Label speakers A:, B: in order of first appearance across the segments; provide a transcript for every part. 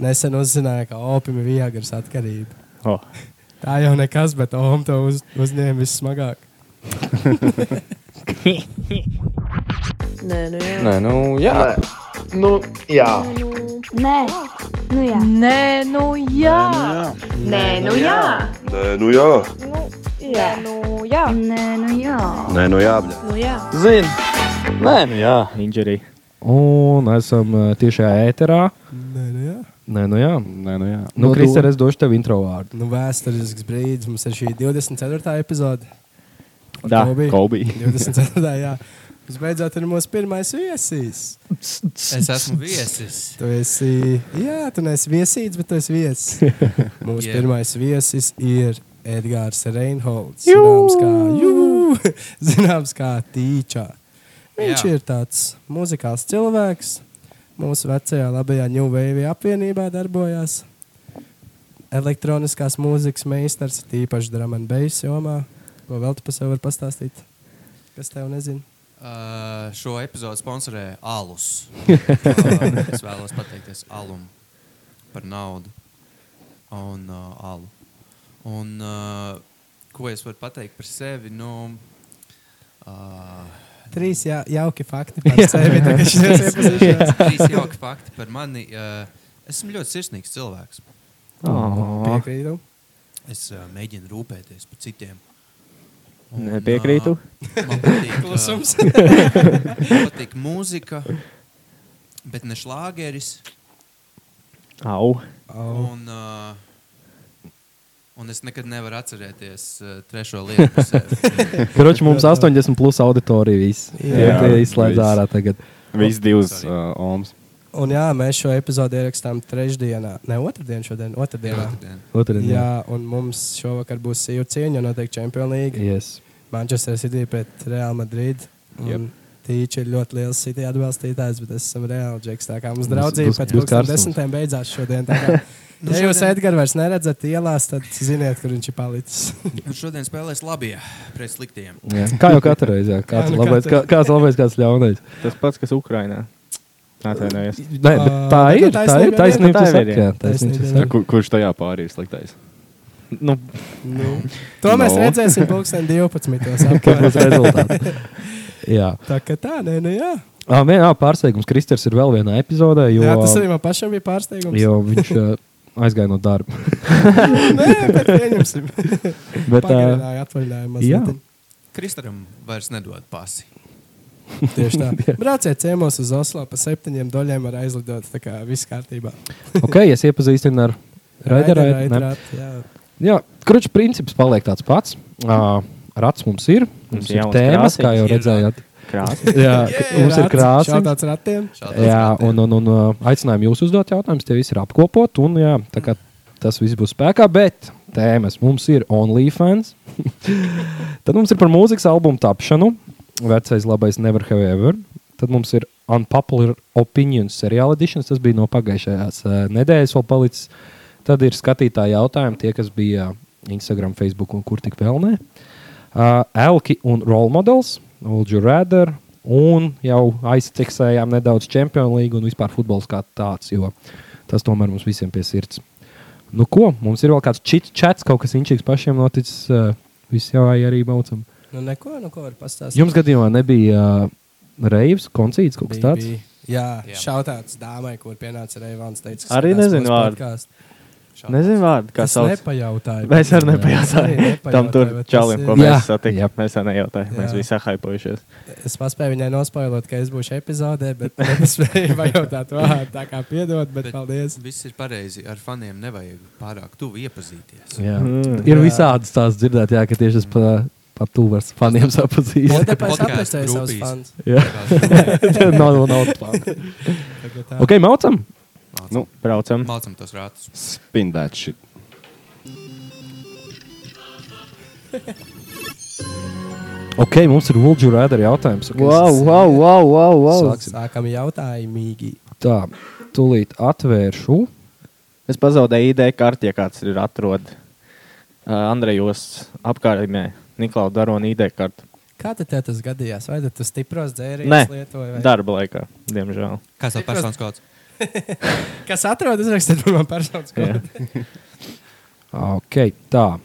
A: Nesen uzzināju, ka opim ir viegras atkarība.
B: Oh.
A: Tā jau nekas, bet Olimp to uz, uzņēma vissmagāk.
C: Nē, nu jā.
D: Nē, nu, jā.
E: Nu, jā.
F: Nē, nu jā.
C: Nē, nu jā.
G: Nē, nu jā.
H: Nē, nu jā,
C: Nē, nu jā.
F: Nē, nu jā.
E: Nē, nu jā.
C: Nu jā.
D: Zini, nē, nu, jā.
B: Injury.
I: Un esam eh, tiešajā ēterā.
A: Nē, nu jā.
I: Nē, nu jā.
B: Nē, nu jā.
I: Nu,
D: Nodod.
I: Kristēn, es došu tev intro vārdu.
A: Nu, vēsturisks brīdis. Mums ir šī 24. epizode. Ar
B: Tā,
A: Kobi.
B: Kobi.
A: 24. jā. Visbeidzot, ir mūsu pirmais viesis.
J: Es esmu viesis.
A: Tu esi, jā, tu neesi viesīts, bet tu esi viesis. Mūsu
J: Jā.
A: yeah. pirmais viesis ir Edgars Reinholds. Zināms, kā, jū, zināms, kā tīčā. Viņš
J: Jā.
A: jā. ir tāds muzikāls cilvēks. Mūsu vecajā labajā New Wave apvienībā darbojās. Elektroniskās mūzikas meistars, tīpaši Dramana Beigas jomā. Ko vēl tu par sevi vari pastāstīt? Kas tev nezina?
J: Uh, šo epizodu sponsorē Alus. Uh, es vēlos pateikties Alum par naudu un uh, alu. Un, uh, ko es varu pateikt par sevi? Nu, uh,
A: Trīs jā, jauki fakti par sevi. tagad šīs iepazīšanās.
J: trīs jauki fakti par mani. Uh, esmu ļoti sirsnīgs cilvēks.
A: Piekrītu.
J: Es uh, mēģinu rūpēties par citiem.
B: Nepiekrītu.
J: ā, Man patīk,
A: Klusums.
J: ā, man patīk mūzika, bet ne šlāgeris.
B: Au.
A: Oh.
J: Un, uh, un es nekad nevaru atcerēties uh, trešo lietu. par sevi.
I: Kroč, mums 80 plus auditorija viss.
A: Jā.
I: Jā, tie izslēdz
B: Viss.
I: ārā tagad.
B: Viss divas uh, oms.
A: Un jā, mēs šo epizodi ierakstām trešdienā, ne otrdien, šodien, otrdienā.
J: Otrdien.
I: Otradien.
A: Jā, un mums šovakar būs sīva cīņa, noteikti Champions League.
I: Yes.
A: Manchester City pret Real Madrid.
B: Jep.
A: Un Tīči ir ļoti liels City atbalstītājs, bet es esmu Real Džeks. Tā kā mums
I: Būs-
A: draudzība
I: būs-
A: pēc
I: būs karstums.
A: 2010. beidzās šodien. tā kā-
J: Nu,
A: Ja jūs
J: šodien-
A: Edgars vairs neredzat ielās, tad ziniet, kur viņš ir palicis.
J: Un Šodien spēlēs labie pret sliktiem.
I: Jā. Kā jau katru reizi, jā. kāds
A: Jā,
I: ir
A: nu
I: labais,
A: katru-
I: kā- kāds labais, kāds ļaunais.
B: Tas pats, kas Ukrainā. Atvainojos.
I: Nē, bet tā
A: Ā,
I: ir.
A: bet
I: Tā ir
A: taisnība, jā.
I: taisnība.
B: Tā
I: tu
B: ir
I: saki,
B: ir,
I: jā,
B: jā.
I: Taisnība. tu
A: Taisnība,
I: saki.
B: Kur, kurš tajā pāri ir sliktais? Nu,
A: Nu, to mēs
B: No.
A: redzēsim pulksten 12.
I: Kad būs
A: apmēram.
I: rezultāti? Jā.
A: Tā kā tā, nē, nu jā.
I: Ah, vien, ah, pārsteigums. Kristers ir vēl vienā epizodē, jo,
A: Jā, tas arī man pašam bija pārsteigums.
I: jo viņš eh, aizgāja no darba.
A: Nē, bet pieņemsim.
I: Bet, uh,
A: Pagaidāju atvaļinājumu.
I: jā.
A: mazliet.
J: Kristaram vairs nedod pasi.
A: Tieši tā. Brauciet ciemos uz Oslo pa septiņiem doļiem var aizlidot. Tā kā viss kārtībā.
I: ok, es iepazīstinu ar Raideru.
A: Raider, Raider, jā.
I: Jā, kručs princips paliek tāds pats. Uh, Rats mums ir. Mums
B: Mums
I: ir
B: jauns
I: tēmas,
B: krāsiņš.
I: kā jau
J: Ir
I: redzējāt.
B: krāsa.
I: Jā, mums ir
A: Rats,
I: krāsa.
A: Šautauts ratiem.
J: Šādi
I: Jā, un, un, un uh, aicinājumu jūs uzdot jautājumus. Tie visi ir apkopot. Un, jā, tā kā tas viss būs spēkā, bet tēmas mums ir OnlyFans. Tad mums ir par mūzikas albumu tapšanu. Vecais labais Never Have Ever. Tad mums ir Unpopular Opinions seriāla editions. Tas bija no pagājušās uh, nedēļas vēl palicis. Tad ir skatītāji jautājumi, tie, kas bija Instagram, Facebook un kur tik vēl ne. Uh, Elki un Role Models, Ulģu Rēder. Un jau aizceksējām nedaudz Champions League un vispār futbols kā tāds, jo tas tomēr mums visiem pie sirds. Nu, ko? Mums ir vēl kāds čats, kaut kas inčīgs pašiem noticis. Uh, Visi jau arī baucam.
A: Nu neko, nu ko var pastāstīt.
I: Jums gadījumā nebija uh, reivs, koncerts, kaut kas
A: Bija-
I: tāds?
A: bija. Jā,
J: Jā.
A: šautauts dāmai, kur pienāca Reivāns. Teica, ka
B: Arī
A: skatās
B: nezinu
A: mūsu
B: vārdu.
A: podcastu.
B: Nezinu vārdu, kā
A: Es
B: sauc.
A: nepajautāju.
B: Mēs arī
A: Jā,
B: nepajautājām
A: nepajautāju,
B: tam tur
A: bet tas
B: čalim,
A: ir-
B: ko
I: Jā,
B: mēs satikām.
I: jā.
B: Mēs arī nejautājām. Mēs
A: Jā.
B: visi sahaipojušies.
A: Es paspēju viņai nospoilot, ka es būšu epizodē, bet nespēju pajautāt vārdu. Tā kā piedod, bet
J: Bet-
A: paldies.
J: Viss ir pareizi. Ar faniem nevajag pārāk tuvu iepazīties.
I: Jā.
B: Mm.
I: Ir
A: Jā.
I: visādas tās dzirdēt, jā, ka tieši es pa, pa tuvu ar faniem
A: Jā,
I: sapazīstu.
A: tāpēc
J: Podkāstu
A: apēstēju savus
J: grupīs.
A: fans.
I: Jā, nav, nav tā. Ok, maucam!
B: Nu, braucam.
J: Mācam tos rātus.
B: Spindēt šit.
I: Ok, mums ir Ulģu Rēder jautājums. Okay,
B: Wow, wow, wow, wow, wow.
I: Sāksim.
A: Sākam jautājumīgi.
I: Tā, tūlīt atvēršu.
B: Es pazaudēju ID karti, ja kāds ir atrodis. Uh, Andrejos apkārtnē Niklaus Darona ID karti.
A: Kā tad tev tas gadījās? Vai tad tu stipros dzērienus
B: Nē,
A: lietoji? vai-
B: darba laikā, diemžēl.
J: Kāds ir personas kods?
A: Kas atrod, uzrakstiet par mani personisko.
I: Ok, tā.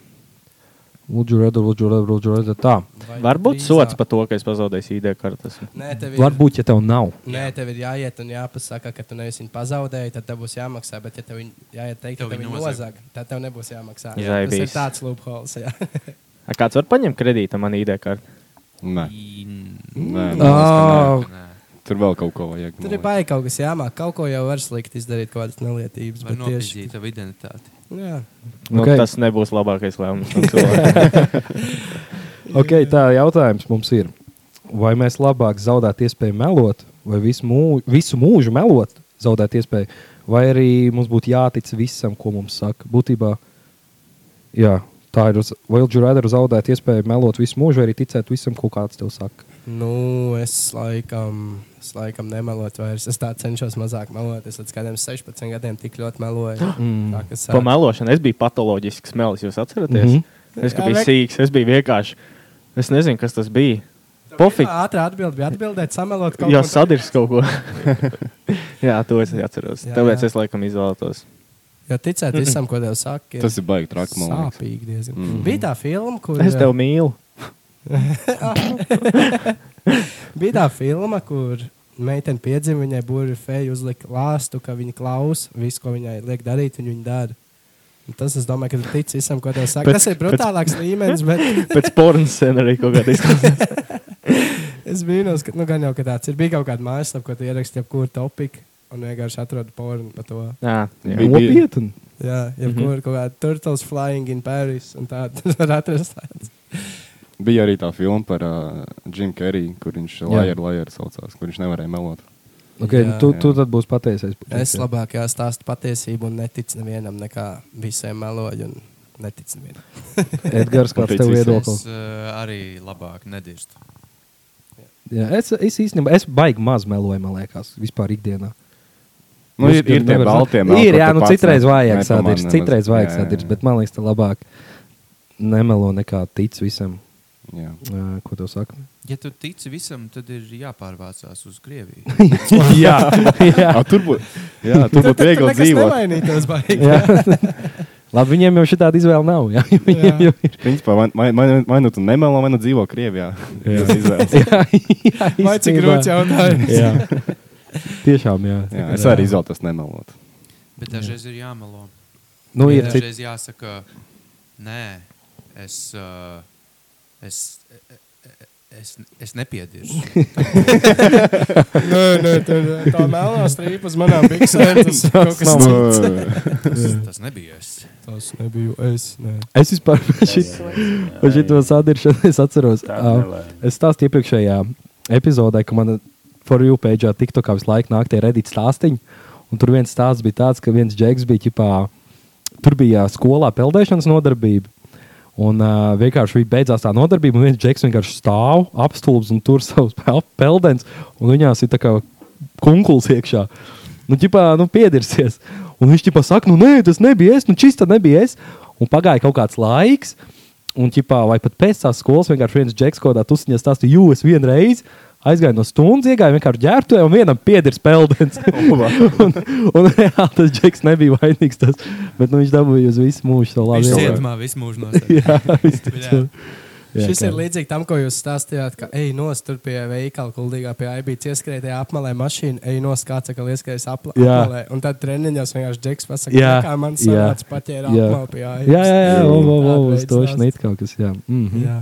I: Lūdzu, redzu, lūdzu, redzu, lūdzu, redzu. Tā.
B: Varbūt sots par to, ka es pazaudēju ID kartes.
A: Nē, tev ir,
I: Varbūt, ja tev nav.
A: nē, tev ir jāiet un jāpasaka, ka tu nevis viņu pazaudēji, tad tev būs jāmaksā. Bet, ja tev viņa, jāiet teikt,
J: Tev
A: ka tev
J: viņa
A: viņa
J: nozaga.
A: nozaga, tad tev nebūs jāmaksā. Jā,
B: Žaibīs.
A: tas ir tāds loopholes. Jā.
B: A Kāds var paņemt kredītu man ID karti?
D: Nē,
J: Nē,
D: nē, nu, man liekas,
I: Ā,
D: ka nē. tur vēl kaut ko vajag.
A: Tur ir baigi kaut kas jāmāk. Kaut ko jau var slikti izdarīt, kaut kādas nelietības.
J: var
A: Bet tieši
J: nopietni tavu identitāti.
A: jā.
B: Nu,
I: Ok.
B: okay. Tas nebūs labākais lēmums. tam cilvēkam.
I: Ok, tā jautājums mums ir. Vai mēs labāk zaudēt iespēju melot, vai visu, mū, visu mūžu melot, zaudēt iespēju, vai arī mums būtu jātic visam, ko mums saka? Būtībā, jā, tā ir. uz- Vai jūs redzat, zaudēt iespēju melot visu mūžu, vai arī ticēt visam, ko kāds tev saka?
A: Nu, es laikam, es laikam nemelotu vairs. Es tā cenšos mazāk melot. Es līdz kādiem 16 gadiem tik ļoti meloju. Tā, ka sāk-
B: Pa melošanu es biju patoloģisks melis, jūs atceraties? Mm
I: Mhm.
B: -hmm. Es ka
A: Jā,
B: biju
A: vek-
B: sīgs, es biju vienkārši. Es nezinu, kas tas bija.
A: Tev
B: Pofīgi.
A: pirmā Ātrā atbildē bija atbildēt, samelot kaut
B: Jā,
A: ko.
B: sadirs kaut ko. jā, to es atceros.
A: Jā,
B: Jā, Tāpēc
A: jā.
B: jā. es laikam izvēlētos.
A: Jo ticēt visam, ko tev saka, ir
D: Tas ir baigi traki, man liekas.
A: sāpīgi. Diezgan. Mm. Bija tā filma, kur.
B: Es tevi mīlu.
A: Bija tā filma, kur meitene piedzima, viņai burbuļu feja uzlika lāstu, ka viņa klausa visu, ko viņai liek darīt, un viņa dara. Un tas, es domāju, ka tu tici visam, ko tev saka.
B: Pēc-
A: Pēc, tas ir brutālāks pēc... līmenis, bet
B: Pēc porno scenārija kaut kāda izklausās.
A: es brīnos, ka, nu, gan jau, ka tāds ir. Bija kaut kāda mājaslapa, ko tu ierakstīji, jebkuru topiku, un vienkārši atrodi pornu par to.
B: jā, jā.
D: Bija- bija-
I: Nopietni!
A: Jā, jebkuru mm -hmm. kaut kādu turtles flying in Paris, un tādu var atrast. Tāds.
D: Bija arī tā filma par uh, Jim Carrey, kur viņš
I: Jā.
D: Lajer Lajer saucās, kur viņš nevarēja melot.
I: Okay,
A: Jā,
I: jā, nu, tu,
D: jā.
I: tu tad būsi patiesais.
A: Es labāk jāstāsta patiesību un neticu nevienam, nekā visiem meloju un neticu nevienam.
I: Edgars, kāds
D: Paticis.
I: tev
J: Es
I: viedoklis?
J: uh, arī labāk nedirstu.
I: Jā, Es, es īstenībā, es baigi maz meloju, man liekas, vispār ikdienā.
D: Nu, ir, ir tie
I: nevar-
D: balti
I: Ir, jā, nu citreiz vajag sādirs, citreiz vajag sādirs, bet man liekas, tā labāk nemelo nekā tic visam,
D: Jā.
I: ā, ko tu saki.
J: Ja tu tici visam, tad ir jāpārvācās uz Krieviju.
I: jā, jā.
D: Ā, tur būtu jā, tur būtu viegli dzīvot.
A: Nemainītos, baigi.
I: jā. Labi, viņiem jau šī tāda izvēle nav. Jā, viņiem jau ir.
D: Principā, vai- vai- vai vai nu tu nemelo, vai nu dzīvo Krievijā. Jā, izvēles.
I: Jā, jā,
A: Vai cik
I: īstenībā.
A: grūts jautājums?
I: Jā. Tiešām, jā.
D: jā, es arī izvēlos nemelot.
J: Bet dažreiz ir jāmelo.
I: Nu, ir cit...
J: Dažreiz jāsaka, nē, es, uh, es, eh, es, es nepiediršu.
A: Nē, nē, tā, tā melnā strīpa uz manām biksēm. Tas kaut kas
D: Nu,
A: cits.
J: Tas, tas nebija es.
A: Tas nebija es. Nē.
I: Es vispār par šo sadiršanu es atceros. ā, Es stāstīju iepriekšējā epizodē, ka manā For You page, TikTokā visu laiku nāk tie redīti stāstīņi. Un tur viens stāsts bija tāds, ka viens džeks bija ģipā, tur bija skolā peldēšanas nodarbība. Un uh, vienkārši bija beidzās tā nodarbība, un viens džeks vienkārši stāv apstulbs un tur savus pel- peldens, un viņās ir tā kā kunkuls iekšā. Nu, ģipā, nu, piedirsies. Un viņš ģipā saka, nu, nē, tas nebija es, nu, čista nebija es. Un pagāja kaut kāds laiks, un ģipā, vai pat pēc tās skolas vienkārši viens džeks kaut kādā tusiņā stāstīja, jo es vienreiz aizgāju no stundas, iegāju vienkārši ģērbtuvē, un vienam piedirs peldens. un, un reāli tas džeks nebija vainīgs, tas, bet nu, viņš dabūja uz visu mūžu to
J: Viņš
I: labi.
J: cietumā visu mūžu nostājās.
I: Jā,
A: Jā, Šis
I: kā-
A: ir līdzīgs tam, ko jūs stāstījāt, ka ej no stūra pie veikala, kuldīgā pie aibīts, ieskrēja apmelē mašīnu, ej no skāca, ka ieskrējas apla-
I: Jā.
A: apmelē. Un tad treniņos vienkārši džeks pasaka,
I: Jā,
A: jā, kā man
I: jā,
A: sanāca paķēra
I: jā.
A: apmelē pie aibīts.
I: Jā, jā, jā, o, o, o, uz
A: Tāda
I: to
A: veida
I: šeit ir kaut kas. Jā, mm -hmm.
A: Jā.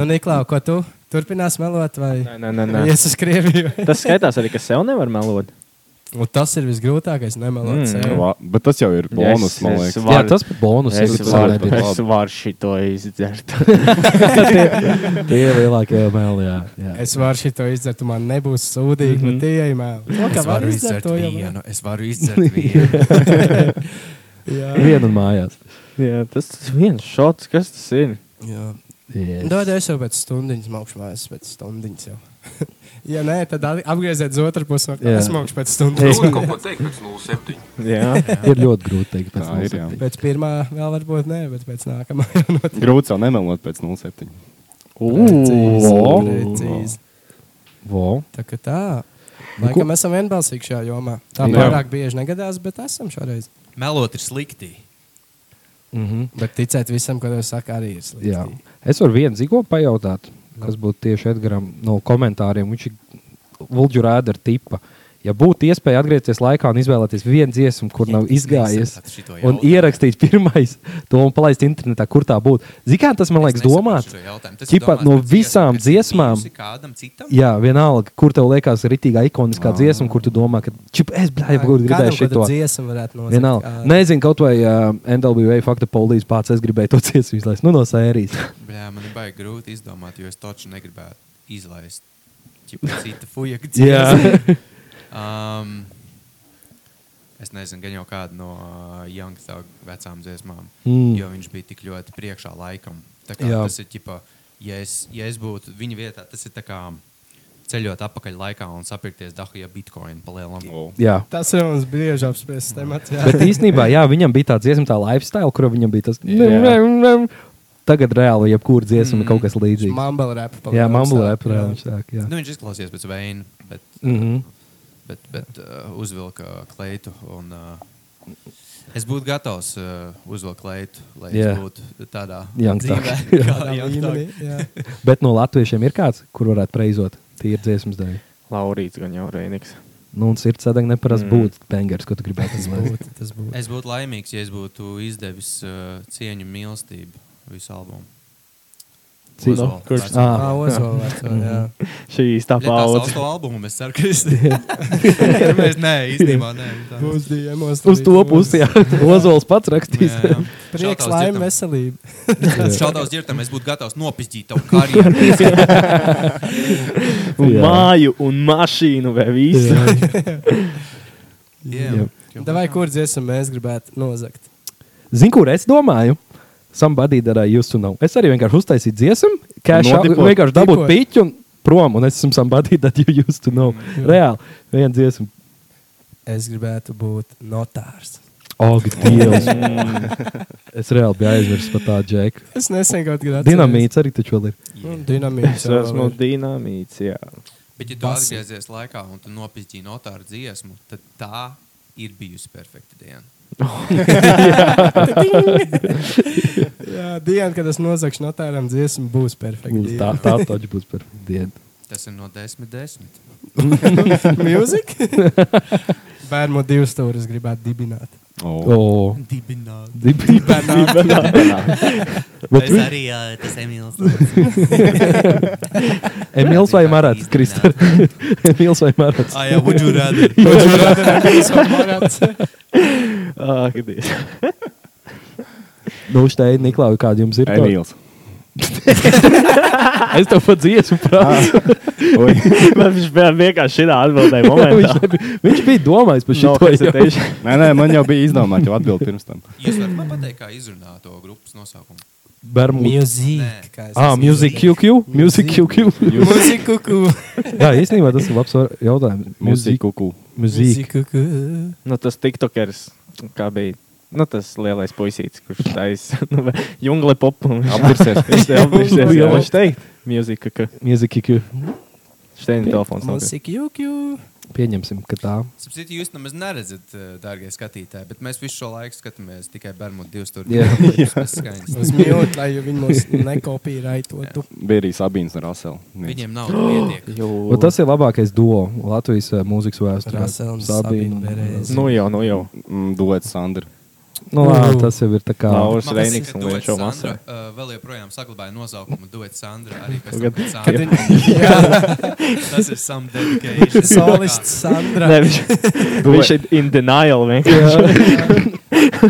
A: Nu, Niklā, ko tu turpinās melot vai
B: Nē, nē, nē, nē.
A: ies uz Krieviju?
B: Tas skaitās arī, ka sev nevar melot.
A: Un tas ir visgrūtākais nemelot
B: Mm.
A: sevi.
D: Va- Bet tas jau ir bonus,
B: Es-
D: man
B: es
D: liekas.
B: varu-
I: jā tas ir bonus.
B: Es
I: Es
B: varu,
I: domāju,
D: sapratu.
B: es varu šito izdzert.
I: ka tie ir lielākie meli. Jā, jā.
A: Es varu šo izdzert, un man nebūs sūdīgi,
I: Mhm.
A: mm -hmm. bet tie ir mēli.
J: Es varu izdzert vienu, es varu izdzert vienu.
I: Vienu un mājās.
B: jā, tas tas viens šots, kas tas ir?
A: Jā.
I: Yes.
A: Dod, es jau pēc stundas maukšu mājās, pēc stundas jau. ja nē, tad at- apgrieziet uz otru pusi. un
I: Jā.
A: Es maukšu pēc stundas.
B: Jā,
I: Ir ļoti grūti pateikt, pēc
D: Tā ir, jā.
I: nosauktiem.
A: pēc pirmā vēl varbūt nē, bet pēc nākamā jau notiek.
D: Grūti jau nemelot pēc 0,7.
I: Ū,
A: Precīzi,
I: vo,
A: precīzi.
I: vo.
A: Tā kā tā. Laikam esam vienbalsīgi šajā jomā. Tā
I: Jā.
A: pārāk bieži negadās, bet esam šoreiz.
J: Melot ir slikti.
I: Mm -hmm.
A: Bet ticēt visam, ko tev saka, arī ir slikti.
I: Jā. Es varu vienu zigo pajautāt,
J: Nu.
I: kas būtu tieši Edgars no komentāriem. Viņš ir Vulģu rēda ar tipa. Ja būtu iespēja atgriezties laikā un izvēlēties vienu dziesmu, kur nav izgājies,
J: nesapratu šito
I: un
J: jautājumu.
I: ierakstīt pirmais to un palaist internetā, kur tā būtu. Zinām, tas man liekas, domāt, ķipā, no visām dziesmām,
J: Kādam citam?
I: jā, vienalga, kur tev liekas, ir rītīga ikoniskā
J: Ah.
I: dziesma, kur tu domā, ka čip, es blēju, kur gribēju
A: kāda
I: šo.
A: dziesma varētu nozagt?
I: Vienalga.
J: ah.
A: Kāda?
I: Nezinu, kaut vai uh, NWA fakta polīs pats es gribēju to dziesmu izlaist. Nu, no sērijas.
J: Jā, man ir baigi grūti izdomāt, jo es taču negribētu izlaist ķipa citu fujaku dziesmu.
I: Jā.
J: um, es nezinu, gan jau kādu no uh, Young Thug vecām dziesmām,
I: Mm.
J: mm. jo viņš bija tik ļoti priekšā laikam. Tā kā
I: Jā.
J: tas ir ģipa, ja es, ja es būtu viņa vietā, tas ir tā kā ceļot atpakaļ laikā un sapirkties Dahija Bitcoin pa lielam. Oh.
I: Jā.
A: Tas ir mums brīži apspriests temats. jā.
I: Bet īstenībā, jā, viņam bija tāds dziesmu, tā lifestyle, kur viņam bija tas. Tagad reāli jebkura dziesma ir kaut kas līdzīgs.
A: Mumble rap. palielinās.
I: Jā, mamula apgleznota.
J: Nu, viņš izklausījās pēc veina, bet,
I: Mhm.
J: bet, bet uh, uzvilka kleitu. Un, uh, es būtu gatavs uh, uzvilkt kleitu, lai
I: Jā.
J: es būtu tādā
I: Young Thug.
J: dzīvē,
A: Tādā
J: kāda ir Young
A: līmenī,
J: Thug.
A: jā.
I: Bet no latviešiem ir kāds, kur varētu preizot tīri dziesmas dēļ.
B: Laurīts gan jau Reiniks.
I: Nu, un sirds sadeg neparasti
B: Mm.
I: mm. būt bangers, ko tu gribētu izdarīt.
A: Būtu, Tas būtu.
J: Es būtu laimīgs, ja es būtu izdevis uh, cieņu, mīlestību visu albumu.
I: Cik-
J: Ozolu.
B: Kurš-
J: Vecā-
I: Ah. Mhm.
A: Ā, Ozola veco, jā.
B: Šī īstā
J: Ja tā sauc
B: paudze.
J: to albumu, es ceru, ka es neesmu. Nē, īstenībā nē. tā.
A: Būs diemos.
I: Uz to pusi, jā. Ozols pats rakstīs.
J: Jā, jā.
A: Prieks,
J: Šautavs
A: laime,
J: ģirtam.
A: veselība.
J: Šādos dzirdam, es būtu gatavs nopizdīt tavu karjeru.
B: Un
I: Jā.
B: māju un mašīnu vai visu.
J: Jā.
A: Davai, kur dziesmu mēs gribētu nozagt?
I: Zini, kur es domāju? Somebody that I used to know. Es arī vienkārši uztaisīju dziesmu, cash out,
D: Notipot.
I: vienkārši dabūju
A: Tikko.
I: piķu un prom, un es esmu somebody that you used to know. Reāli, viena dziesma.
A: Es gribētu būt notārs.
I: Ak, Dievs! es reāli biju aizmirsis par tādu džeku.
A: Es nesen kaut kādā
I: Dinamīts arī taču vēl ir.
A: Dinamīts.
B: Es esmu dinamīts, jā.
J: Bet, ja tu
A: Basi.
J: atgriezies laikā un tu nopizdīji notāru dziesmu, tad tā ir bijusi perfekta diena.
A: Jā, diena, kad es nozagšu notāram dziesmu, būs perfekta.
I: Tā, tā taču būs par dienu.
J: Tas ir no 10, 10.
A: mūzika. Bērnu divas stūres gribētu dibināt.
D: Oh.
I: O,
J: Dibināt.
I: dibi. Bet
J: Tas
I: vi-
J: arī uh, tas Emīls.
I: Emīls vai Marats? Kristāli. Emīls vai Marats?
J: Ah, jā, would you rather?
B: Ak, Dievs.
I: Nu, šeit, Niklauj, kāda jums ir? tāda?
D: Emīls.
I: Es tev pat dziesmu prātu.
D: Oi.
B: Man Viņš bija vienkārši šitā atbildēja momentā.
I: Viņš bija domājis par šo
B: No hesitation.
D: Nē, nē, man jau bija izdomāta jau atbildi pirms tam.
J: Jūs varat man pateikt, kā izrunāt to grupas nosaukumu.
I: Bermuda.
J: Nē.
A: Mūzika.
I: Ah, Music QQ. Music QQ.
A: Mūzika.
I: Jā, īstenībā tas ir labs var- jautājums.
D: Mūzika, kuku.
I: Mūzika.
B: Nu, tas tiktokers, kā bija. Nu, tas lielais puisīts, kurš taisa nu, vai jungle popu.
D: Apgursies.
B: Viņš te apgursies.
I: Jungle
B: Jā,
I: pop.
B: viņš teikt. Mūzika, ka
I: Mūzika QQ.
B: šteina telefons. nav.
A: Mūzika. QQ.
I: Pieņemsim, ka tā.
J: Sapratu, jūs nemaz neredzat, eh, dārgie skatītāji, bet mēs visu šo laiku skatāmies tikai Bermudu divas stūres.
I: Jā.
A: Uz mute, lai viņi mūs nekopīraitotu.
D: Bija arī Sabīns un Rasels.
J: Viņiem nav pietiekami.
I: Un tas ir labākais duo Latvijas eh, mūzikas vēsturē.
A: Rasela un Sabīna Bereze.
B: Nu jau, nu jau.
D: mm, Duets Sandra.
I: Nu, lā, tas jau ir tā kā.
B: Laura. Kurš
J: Man liekas,
B: Reinis
J: ka
B: un
J: Duet
B: Lenčo
J: Sandra,
B: Masai.
J: eh, Vēl joprojām saglabāja nosaukumu Duet Sandra. Arī pēc tam,
B: Tagad-
J: kad Sandra- Tas ir some dedication.
A: Solists
B: Nē,
A: Sandra.
B: viņš, viņš ir in denial vienkārši.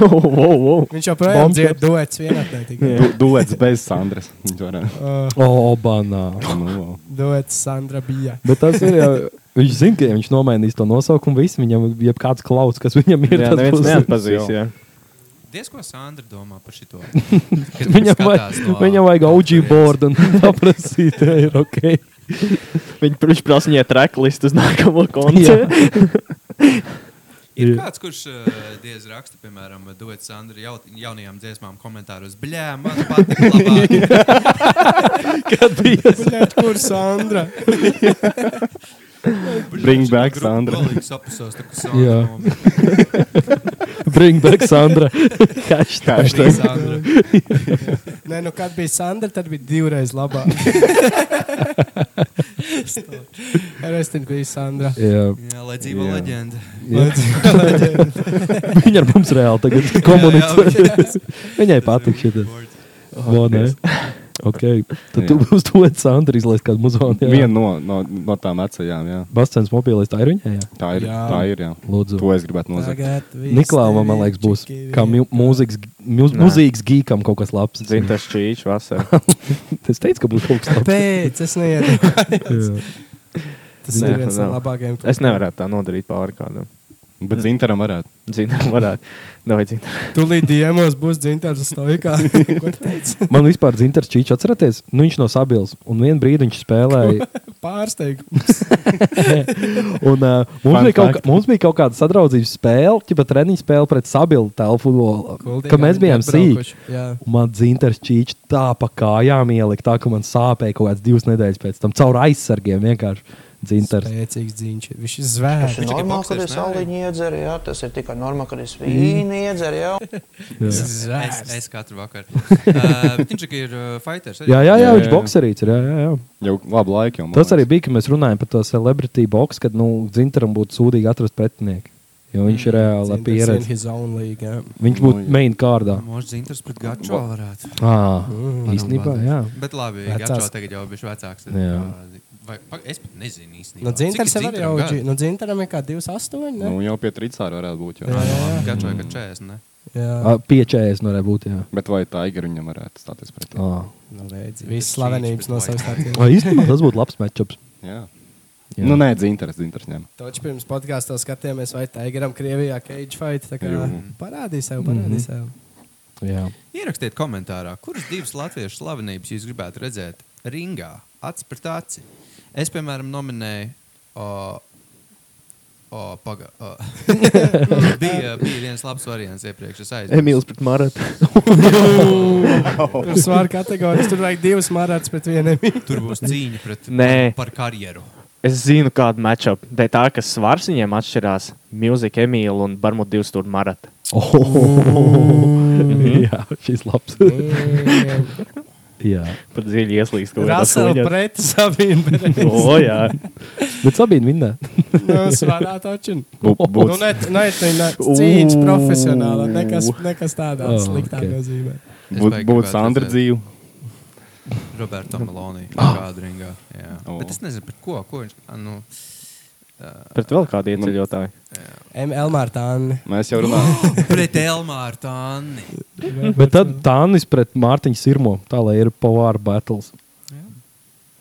B: oh, oh, oh.
A: Viņš joprojām
I: Bombs.
A: dzied duets vienatnē tikai.
D: Du, duets bez Sandras. Viņš varētu.
A: Uh,
I: O, banā.
D: Nu,
A: Duets Sandra bija.
I: Bet tas ir jau. Viņš zina, ka ja viņš nomainīs to nosaukumu. Visi viņam, ja kāds klausās, kas viņam ir,
B: Jā,
I: tas
B: neviens
I: būs-
B: neatpazīs. Jā.
J: Diez ko Sandra domā par šo?
I: Viņam vajag, viņam vajag OG board un paprasīt, vai ir ok.
B: Viņi viņš prasa viņai tracklistu uz nākamo koncertu.
J: Ir kāds, kurš eh, diez raksta, piemēram, Duet Sandra jaut, jaunajām dziesmām komentāros. Bļā, man patīk. labāk."
I: Kad bija
A: Kur Sandra?
J: Bļā,
D: Bring back Sandra.
J: Galīgi sapusos, tā kā
I: Jā.
J: Sandra. nomira.
I: Bring back Sandra. Hashtag.
J: Bring Sandra.
A: Nē, nu kad bija Sandra, tad bija divreiz labāk. Restin bija Sandra.
I: Jā.
J: Jā, lai dzīvo
D: Jā.
J: leģenda.
I: Jā. Viņa ar mums reāli tagad komunicē. Viņai patīk šis.
B: Oh,
I: Ok, tad tu
D: Jā.
I: būsi to Sandra izlaist kādu muzonu.
D: Viena no, no, no tām vecajām, jā.
I: Bastens mobilais, tā ir viņa. Jā.
D: Tā ir. Jā.
A: Jā.
D: Tā ir jā.
I: Lūdzu.
D: To es gribētu nozagt.
A: Tagad viss
I: Niklāvam, man
A: tevi
I: liekas, būs
A: čiki
I: kā mū-
A: vien-
I: mūzikas, mūz,
B: Nē.
I: mūzikas gīkam kaut kas labs.
B: Zintas čīčs vasarā.
I: Es teicu, ka būs kaut kas labs.
A: Kāpēc? Es neiedomājos.
I: Jā.
A: Tas ir
B: Nē,
A: viens no
B: nav.
A: labākajiem.
B: Es nevaru tā nodarīt pāri kādam.
D: Bet Zintaram varētu.
B: Zinām, varētu. Davai, zinām.
A: Tūlīt diemos būs dzintars uz stojkā. Ko tu teici?
I: Man vispār dzintars čīčs atceraties, nu viņš no sabils, un vienu brīdi viņš spēlēja.
A: Pārsteigums.
I: Un, uh, mums,
D: Fun
I: bija kaut,
D: fact.
I: kā- mums bija kaut kāda sadraudzības spēle, tipa treniņa spēle pret sabilu tēlu futbolu, ka mēs bijām sīki.
A: Jā.
I: Un Man dzintars čīčs tā pa kājām ielika, tā ka man sāpēja kaut kāds divas nedēļas pēc tam caur aizsargiem vienkārši dzintars.
A: Spēcīgs dziņš. Viņš ir zvērs.
J: Viņš tikai
G: Normāli, kad
J: boksēs,
G: es
J: nē, arī.
G: aliņu iedzeru, jā, tas ir tikai normāli, kad es vīnu iedzeru, jā.
I: Jā.
J: Es, es katru vakaru. Uh, viņš tikai ir uh, fighters.
I: Jā, jā, jā,
D: Jā,
I: viņš
D: jā, jā.
I: bokserīts ir. Jā, jā, jā.
D: Jau labu laiku jau. man
I: Tas arī
D: liekas.
I: bija, kad mēs runājām par to celebrity boxu, kad nu, dzintaram būtu sūdīgi atrast pretinieku. Jo viņš ir reāli pieredzējis.
A: pieredze.
I: Viņš būtu main kārdā.
J: Možda dzintars pret Gačo varētu.
I: Ah, īstenībā, jā.
J: Bet labi,
A: Vecās.
J: Gačo tagad jau bišķi vecāks. ir.
I: Jā.
J: Vai, pa- es pat nezinu īstenībā.
A: No dzintars
J: Cik ir
A: Nu, jau ir nu, auģi.
J: dzintaram gadu?
A: No dzintaram ir kā 28.
D: Nu,
A: ne?
D: jau pie tricāra varētu būt.
J: Ā,
D: Jau.
J: nu labi, Gačo ir 40, ne?
A: Jā.
I: Ah, Piečējies no rebūt, jā.
D: Bet vai tā ir viņam varētu stāties pretī?
I: Ah.
A: Nu, redzi, Viss slavenības no savas tādas.
I: Ah, īstenībā tas būtu labs matčups.
D: Jā.
I: Jā.
D: jā. Nu, nē, Zintars, Zintars ņem.
A: Taču pirms podkāstā skatījāmies, vai Tigeram Krievijā cage fight. tā kā
D: Jū.
A: Parādīja sev,
I: Mhm.
A: parādīja sev.
I: Jā.
J: Ierakstiet komentārā, kuras divas latviešu slavenības jūs gribētu redzēt ringā, acis pret aci. Es, piemēram, nominēju. Uh, Oh, paga, oh. bija, bija viens labs variants iepriekš. Es aizmirsu.
B: Emīls pret Maratu.
A: Tur svāra kategorijas, tur vajag divas marātas pret vieniem.
J: Tur būs cīņa pret,
B: Nē.
J: par karjeru.
B: Es zinu, kādu matčup. Dēļ tā, ka svars viņiem atšķirās. Mūzika, Emīla un Barmut divas tur Marata.
I: jā, šis labs. jā.
B: Pat dziļi ieslīgs kaut kādā
A: Rasela
B: suņā.
A: pret nu, Sabīnu.
B: O, jā.
I: Bet Sabīna vinnē.
A: Nu, svārā taču.
D: Būtu
A: Nu, nē, nē, nē, cīņš profesionāli. Nekas, nekas tādā
I: Oh,
A: sliktā
I: ok.
A: nozīmē.
J: Es
D: būt,
J: baigi
D: būt
J: gribētu
D: Sandra
J: redzēt.
D: dzīve.
J: Roberto Meloni. Kāda ringā. Jā.
D: O.
J: Bet es nezinu, par ko. ko viņš, ah, nu,
B: Pret vēl kādu ieceļotāju.
A: M. Elmārtāni.
D: Mēs jau runājam.
J: pret Elmāru Tāni.
I: Bet tad Tānis pret Mārtiņu Sirmo. Tā lai ir power battles.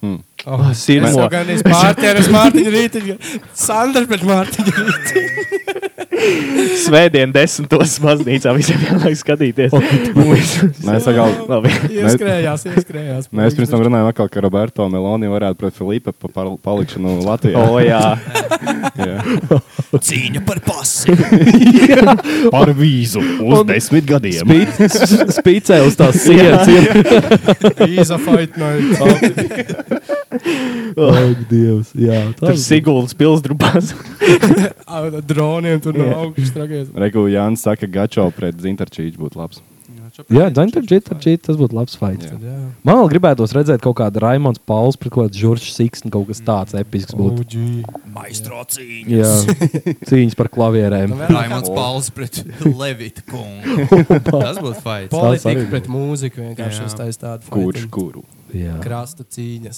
D: Hmm.
A: Oh,
B: Sirmo.
A: Es jau gan īsti pārķēru uz Mārtiņu Rītiņu. Sandra pret Mārtiņu Rītiņu.
B: Svētdien, desmitos baznīcā visiem vienlaikus skatīties.
D: Mēs atkal.
B: Labi.
A: Ieskrējās, ieskrējās.
D: Mēs pirms tam runājām, atkal, ka Roberto Meloni varētu pret Filipa pa par- palikšanu Latvijā.
B: O, Oh, jā.
D: jā.
J: Cīņa par pasi.
D: Par vīzu uz desmit gadiem.
I: Spīcē uz tās sienas.
A: Īza fight night.
I: Ak, Dievs. Jā,
B: Tur
I: tas
B: Siguldas pilsdrupās.
A: Ar droniem tur no augšas tragies.
D: Regula Jānis saka, ka Gačo pret Zintarčīču būtu labs.
I: Jā, Džantar Džitterčīt, tas būtu labs fights.
D: Jā.
A: Jā.
I: Man vēl gribētos redzēt kaut kādu Raimons Pauls pret kaut kādu Žuržu Siksnu, kaut kas tāds episks būtu.
J: Maistro cīņa.
I: Jā, cīņas par
D: Nu,
I: klavierēm.
J: Raimons Pauls pret Levita kungu. Tas būtu fights.
A: Politika
I: arī
A: pret mūziku vienkārši
J: Jā.
A: uztais tādu
D: Kurš
A: fighting.
D: kuru?
I: Jā.
A: Krasta cīņas.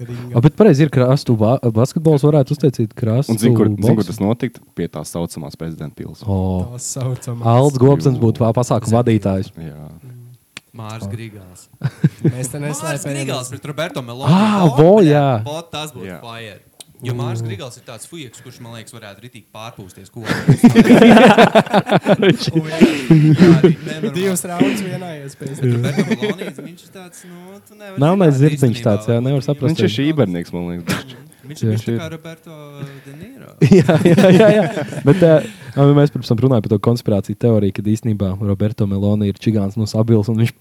A: Ringa.
I: A, bet pareizi ir krastu ba basketbols, varētu uztaisīt krastu.
D: Un zinu, kur, zin, kur tas notika? Pie tās saucamās prezidenta pilsētas.
I: Oh.
A: Tā saucamā.
I: Alds Gobsens būtu vā- pasākuma vadītājs.
D: Jā,
J: Mārs Grigāls.
A: Mēs te
J: Mārs Grigāls
A: neslēpējām.
J: pret Roberto Meloni.
I: Ā,
J: O,
I: vo,
J: bļā,
I: jā.
J: vo, Tas būtu
D: Jā.
J: fire. Jo Mārs Grigāls ir tāds fujaks, kurš man liekas, varētu ritīgi pārpūsties. Ko
A: Divas raundas vienā iespējā.
J: Viņš ir tāds, nu, tu nevari.
I: Nav ne
J: zināt
I: zirdziņš
J: īstenībā,
I: tāds, jā,
J: vai
I: nevar
J: viņam-
I: saprast.
D: viņš ir šī ībernieks, man liekas.
J: Viņš ir viņš ir kā Roberto De Niro.
I: jā, jā, jā, jā. Bet, uh, mēs pirms tam runājām par to konspirāciju teoriju, kad īstenībā Roberto Meloni ir čigāns no Sabils un viņš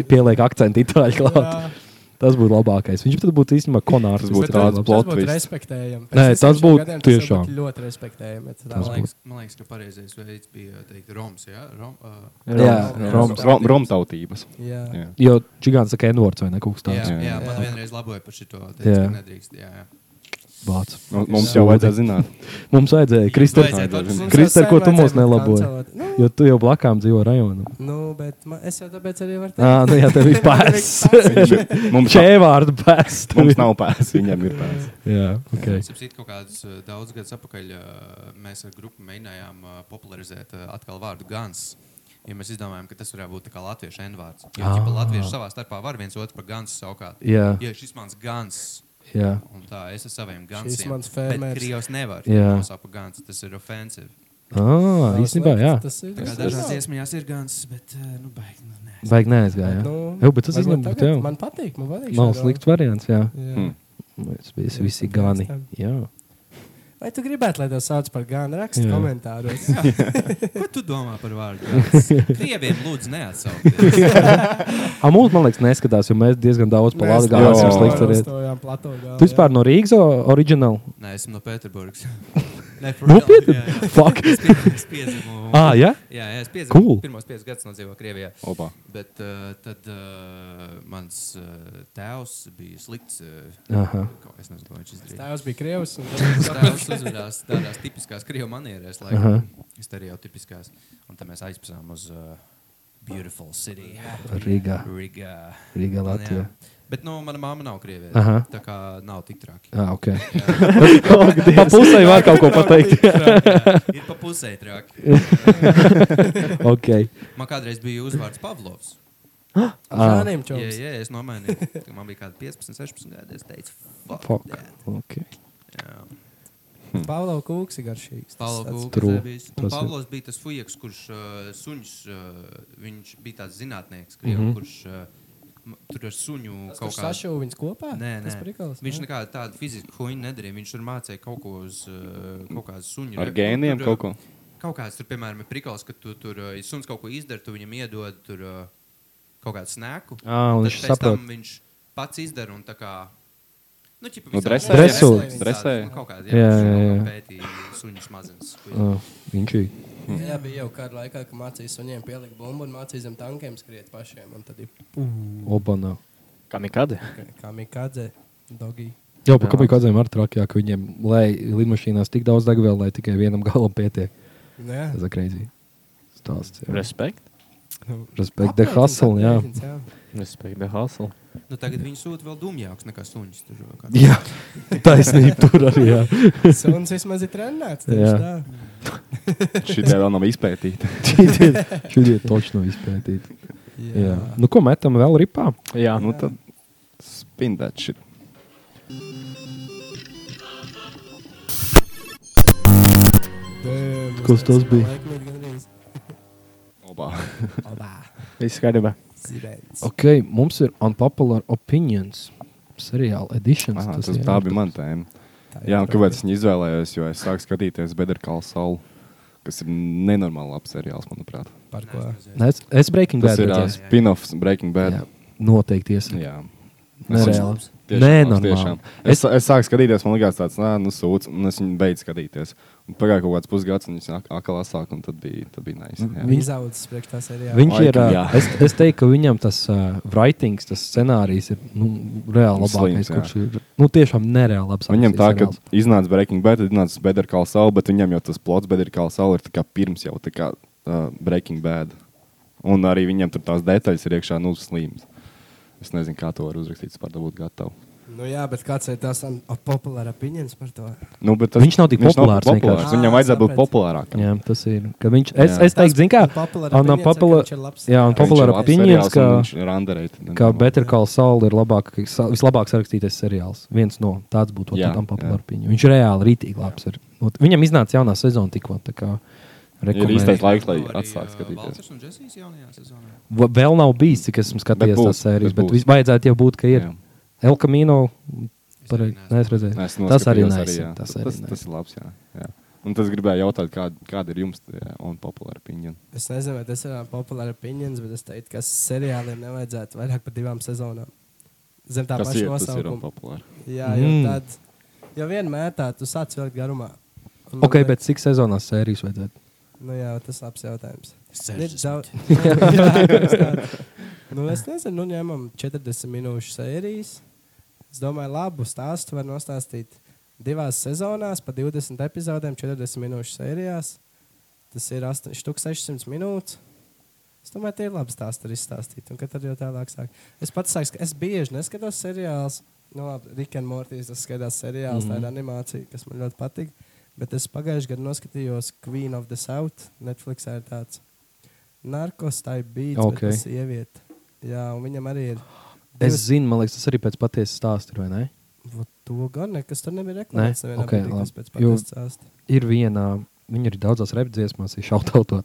I: ti- pieliek akcentu itāļu klāt. Tas būtu labākais. Viņš tad būtu īstenībā konārs.
D: Tas būtu
I: visai
D: tāds
I: labs.
A: Tas būtu
D: Plot twist.
A: respektējami.
I: Nē,
A: Pēc
I: tas
A: 60
I: būtu
A: gadiem tas jau
I: tiešām.
A: būtu ļoti respektējami. ja tā
I: Tas
A: nav.
J: Man liekas, man liekas, ka pareizais veids bija teikt, Roms. Ja? Rom, uh,
I: Jā,
A: Jā.
I: Roms.
D: Rom, romtautības.
A: Jā.
D: Jā.
I: Jo čigāns saka, Envords vai ne kaut kas
J: jā,
I: tāds.
J: jā, jā, man vienreiz laboja par šo teicu,
I: Jā.
J: ka nedrīkst. Jā, jā.
I: Vāc.
D: Nu, Mums jau vajadzēja zināt.
I: Mums vajadzēja Kristēns.
J: Vajadzēja to
A: Mums
I: Kristēns,
A: jau
I: ko
A: sen
I: tu mums
A: vajadzēja
I: nelaboji?
A: kancelēt. Nu,
I: Jo tu jau blakām dzīvo rajonā.
A: nu, bet man, es jau tāpēc arī varu teikt.
I: Ah, nu jā, tev ir pēsts.
D: Viņš ir- Mums, nav-
I: Čēvārdu pēsts.
D: mums nav pēdas, viņam ir pēdas.
I: Jā, ok.
J: Es saprotu, kaut kādus uh, daudz gadus atpakaļ uh, mēs ar grupu mēģinājām uh, popularizēt uh, atkal vārdu gans. Jo mēs izdomājām, ka tas varētu būt tā kā latviešu envārds. Jo ah. latvieši savā starpā var viens otru par gansu saukt.
I: Jā.
J: ja, šis mans gans.
I: Jā.
J: Un tā es ar saviem gansiem.
A: Šis mans
J: Bet
A: fermers.
J: Krievs nevar.
I: Jā.
J: Nosaukt par gansu, tas ir ofensīvi.
I: Ah, īstenībā, jā.
A: Tas ir.
J: Tā
A: tas
J: kā
A: ir
J: Dažās
A: labi.
J: iesmējās ir gans, bet uh, nu baigi. Nu, nē.
I: Baigi neaizgāja. jā?
A: Nu,
I: Jā, bet tas
A: varbūt
I: izņem
A: tagad
I: būtu jau.
A: Man patīk, man patīk.
I: Nav
A: šī
I: slikts variants, jā.
A: doma. Jā.
D: Hmm.
I: Mēs visi, visi gani. Jā.
A: Vai tu gribētu, lai tev sauc par gānu? Raksti
I: Jā.
A: komentāros.
J: Ko tu domā par vārdu? gans? Krieviem lūdzu neatsaukties.
I: A, mums, man liekas, neskatās, jo mēs diezgan daudz pa
A: Mēs
I: Latviju
D: jā.
I: esam
A: jau
I: slikti arī.
A: stāvām plato galā,
I: Tu vispār no Rīgas o- oriģināli?
J: Nē, esmu no Pēterburgas. Nē,
I: Nopietni?
J: jā, jā.
I: Fuck!
J: Es pie- es piedzimu.
I: Ā, jā?
J: Jā, jā, es piedzimu.
I: Ah, Cool.
J: Cool. Pirmos piecus gadus nodzīvoju Krievijā.
D: Opa.
J: Bet uh, tad uh, mans uh, tēvs bija slikts. Uh,
I: Aha.
J: ko es nezinu, ko viņš izdarīja.
A: Tās bija krievs. un
J: Mans
A: tad-
J: Tēvs uzvedās tādās tipiskās krievu manierēs, lai
I: Aha.
J: es te arī jau tipiskās. Un tad mēs aizpazām uz uh, Beautiful City.
I: Rīgā.
J: Riga.
I: Rīgā, Latvijā.
J: Bet nu, mana mamma nav krieviete.
I: Aha.
J: Tā kā nav tik traki.
I: Jā, ok. Pa pusē var kaut ko pateikt.
J: ir pa pusē traki.
I: ok.
J: Man kādreiz bija uzvārds Pavlovs.
I: Ah,
A: Žānim
J: Jā,
A: čoms.
J: jā, es nomainīju. Kad Man bija kādi 15, 16 gadi. Es teicu,
I: fuck.
J: fuck.
I: Ok. Hmm.
A: Pavlo Kūks ir garšīgs. Tas tāds-
I: True.
J: Pāvils
I: Tas ir.
J: Pāvils bija tas fujaks, kurš uh, suņus, uh, viņš bija tāds zinātnieks, krievu, mm -hmm. kurš uh, m- tur ar suņu
A: Tas,
J: kaut
A: kurš
J: kā.
A: sašuva viņus kopā?
J: Nē,
A: Tas
J: nē.
A: prikals,
J: Viņš
A: nē.
J: nekādu tādu fizisku huņu nedarīja. Viņš tur mācīja kaut ko uz uh, kaut kādas suņu.
D: Ar
J: re-
D: gēniem
J: tur,
D: kaut
J: uh,
D: ko.
J: Kaut kāds tur, piemēram, ir prikals, ka tu tur, uh, ja suns kaut ko izdara, tu viņam iedod tur uh, kaut kādu snēku.
I: Ah, un
J: Tad
I: viņš
J: pēc tam
I: saprot.
J: Viņš pats izdara un tā kā. Nu, ķipa,
D: Nu,
J: visādi-
D: dresē.
I: Dresū.
J: Dresē.
D: Dresē.
J: Nu, kaut kāds, jā,
I: Jā,
J: jā,
I: jā,
J: jā,
I: jā.
J: jā. pētīja suņu smadzenes. ko
I: Ah, viņš ir.
A: Jā, bija jau kāda laikā, kad mācīja suņiem pielikt bumbu un mācīja zem tankiem skriet pašiem. Un tad ir
I: Obana.
B: Kā nekad?
A: kā mikādze, dogi.
I: Jā, pa kāpēc kādam ar trakjāk viņiem, lai lidmašīnās tik daudz degvielu, lai tikai vienam galam pietiek.
A: Nu jā.
I: Tas ir crazy. Stāsts. jā.
B: Respekt.
A: Nu,
I: Respekt, the hustle, jā.
A: Aprēķins, jā.
B: Respekt, the hustle.
J: Nu, tagad viņi sūta vēl dumjāks nekā suņus. Tur, jau kāds-
I: Jā, taisnība tur arī. Jā.
A: Suns vismaz ir trenēts.
I: Jā.
A: tieši tā.
D: Šī tā vēl nav izpētīta.
I: Šodien točno izpētīt. Jā. Nu, ko metam vēl ripā?
B: Jā,
D: Nu, tad spindēt šī.
A: Damn,
I: Kas tas
A: uztaisīja
I: bija?
A: laikmetu gandrīz.
D: Opa.
A: Obā,
B: viss kārtībā.
A: zibens.
I: Ok, mums ir unpopular opinions. Seriāla editions.
D: Aha,
I: tas
D: tas,
I: ir,
D: tā bija mana tēma.
A: Tā ir
D: Jā, un
A: problēma.
D: kāpēc es viņu izvēlējos? Jo es sāku skatīties Bedrkālu salu, kas ir nenormāli labs seriāls, manuprāt.
A: Par ko?
I: Nē, Es, es Breaking
D: Tas
I: Bad
D: ir uh,
I: redzēju.
D: spin-offs Breaking Bad.
I: Jā, Noteikti iesim.
D: Jā.
I: Nereāli.
D: Tiešām
I: Nē,
D: labs, tiešām.
I: normāli.
D: Es, es sāku skatīties, man liekas, tāds nā, nu, sūds, un es viņu beidzu skatīties. Un Pagāja kaut kāds pusgads, un viņš ak- atkal sāk, un tad bija, tad bija nice. jā.
A: Viņa zaudas priekš tā seriāla.
I: Viņš ir.
D: Laikam,
I: ā,
D: jā.
I: Es, es teiktu, ka viņam tas uh, writings, tas scenārijs ir nu, reāli labākais,
D: Slims, jā.
I: kurš ir. Nu, tiešām nereāli labs.
D: Viņam tā, ka
I: seriāls.
D: iznāca Breaking Bad, tad iznāca Bedrkālu salu, bet viņam jau tas plots Bedrkālu salu ir tā kā pirms jau tā kā uh, Breaking Bad. Un arī viņam tur tās detaļas ir iekšā, nu, slīmas. Es nezinu, kā to var uzrakstīt, vispār tā būtu gatava.
A: Nu jā, bet kāds ir tas populārs opinions par to?
D: Nu, bet tas,
I: Viņš nav tik populārs
D: populārs.
I: vienkārši.
D: Viņam
A: Ā,
D: vajadzētu būt
A: Ah, sapratu.
D: populārākam.
I: Jā, tas ir. ka Viņš, es,
D: Jā.
I: es teiktu, zini, kā.
A: Unpopular
I: un
A: opinions,
I: unpopular-
A: ka viņš ir labs
I: Jā, un
A: seriāls.
I: populāra
D: Viņš ir labs
I: opinions,
D: seriāls,
I: ka.
D: un viņš ir underrated.
I: Kā
D: nu, nenormāli.
I: Better Call Saul ir labāk, sa- vislabāk sarakstītais seriāls. Viens no tāds būtu
D: Jā,
I: tam
D: jā.
I: populārs. Viņš reāli rītīgi labs. Ir. Ot, Viņam iznāca jaunā sezona tikko. tā kā
D: Ir
I: rekomendēju.
D: īstais laiks, lai
J: Nu, arī, ā,
D: atsāktu skatīties.
J: Valters un Džesijs jaunajā sezonā.
I: Va- Vēl nav bijis, cik esmu skatījies
D: Bet būs,
I: tās sērijas,
D: bet
I: bet
D: būs.
I: vis- vajadzētu jau būt, ka ir.
D: Jā.
I: El Camino. Parei,
J: neesmu.
I: ne, es redzēju.
D: Nē, es
I: tas arī
D: noskatījos
I: nē,
D: jā.
I: tas
D: tas,
I: arī
D: tas
I: nē.
D: ir labs. Jā, jā. Un tas gribēja jautāt, kāda, kāda ir jums jā, un populāra opinija.
A: Es nezinu, vai tas ir populārs opinions, bet es teiktu, ka seriāliem nevajadzētu vairāk par divām sezonām. zem tā
D: Tas
A: paša
D: ir, tas ir
A: nosaukuma.
D: populāri.
A: Jā, jo,
I: Mm.
A: tad, jo vienmēr tā, tu sāc vilkt garumā. Un man
I: Ok,
A: liek-
I: bet cik sezonās sērijas vajadzētu?
A: Nu, jā, tas ir labs jautājums. Ir
J: 60.
A: daudz- Jā, tas tāds. nu, es nezinu, nu, ņemam 40 minūšu sērijas. Es domāju, labu stāstu var nostāstīt divās sezonās, pa 20 epizodēm, 40 minūšu sērijās. Tas ir 8 štuk 600 minūtes. Es domāju, tie ir labi stāsti arī izstāstīt. Un kad tad jau tālāk sāk. Es pats saku, ka es bieži neskatos seriālus. Nu, labi, Rikas un Mortīs, tas skatās seriāls, mm -hmm. tā
I: Mhm.
A: ir animācija, kas man ļoti patīk. Bet es pagājušajā gadā noskatījos Queen of the South. Netflix ir tāds narkos, tā ir bijusi
I: Ok.
A: okay. sieviete. Jā, un viņam arī ir.
I: Es zinu, man liekas, tas arī pēc patiesas stāsta, ir, vai ne?
A: Vot To gan nekas tur nebija reklāmas.
I: Nē?
A: Nē,
I: Ok,
A: okay,
I: labi.
A: labi. Pēc
I: Jo-
A: patiesas stāsta.
I: Ir viena, viņa ir daudzās repdziesmās, ir šautautot.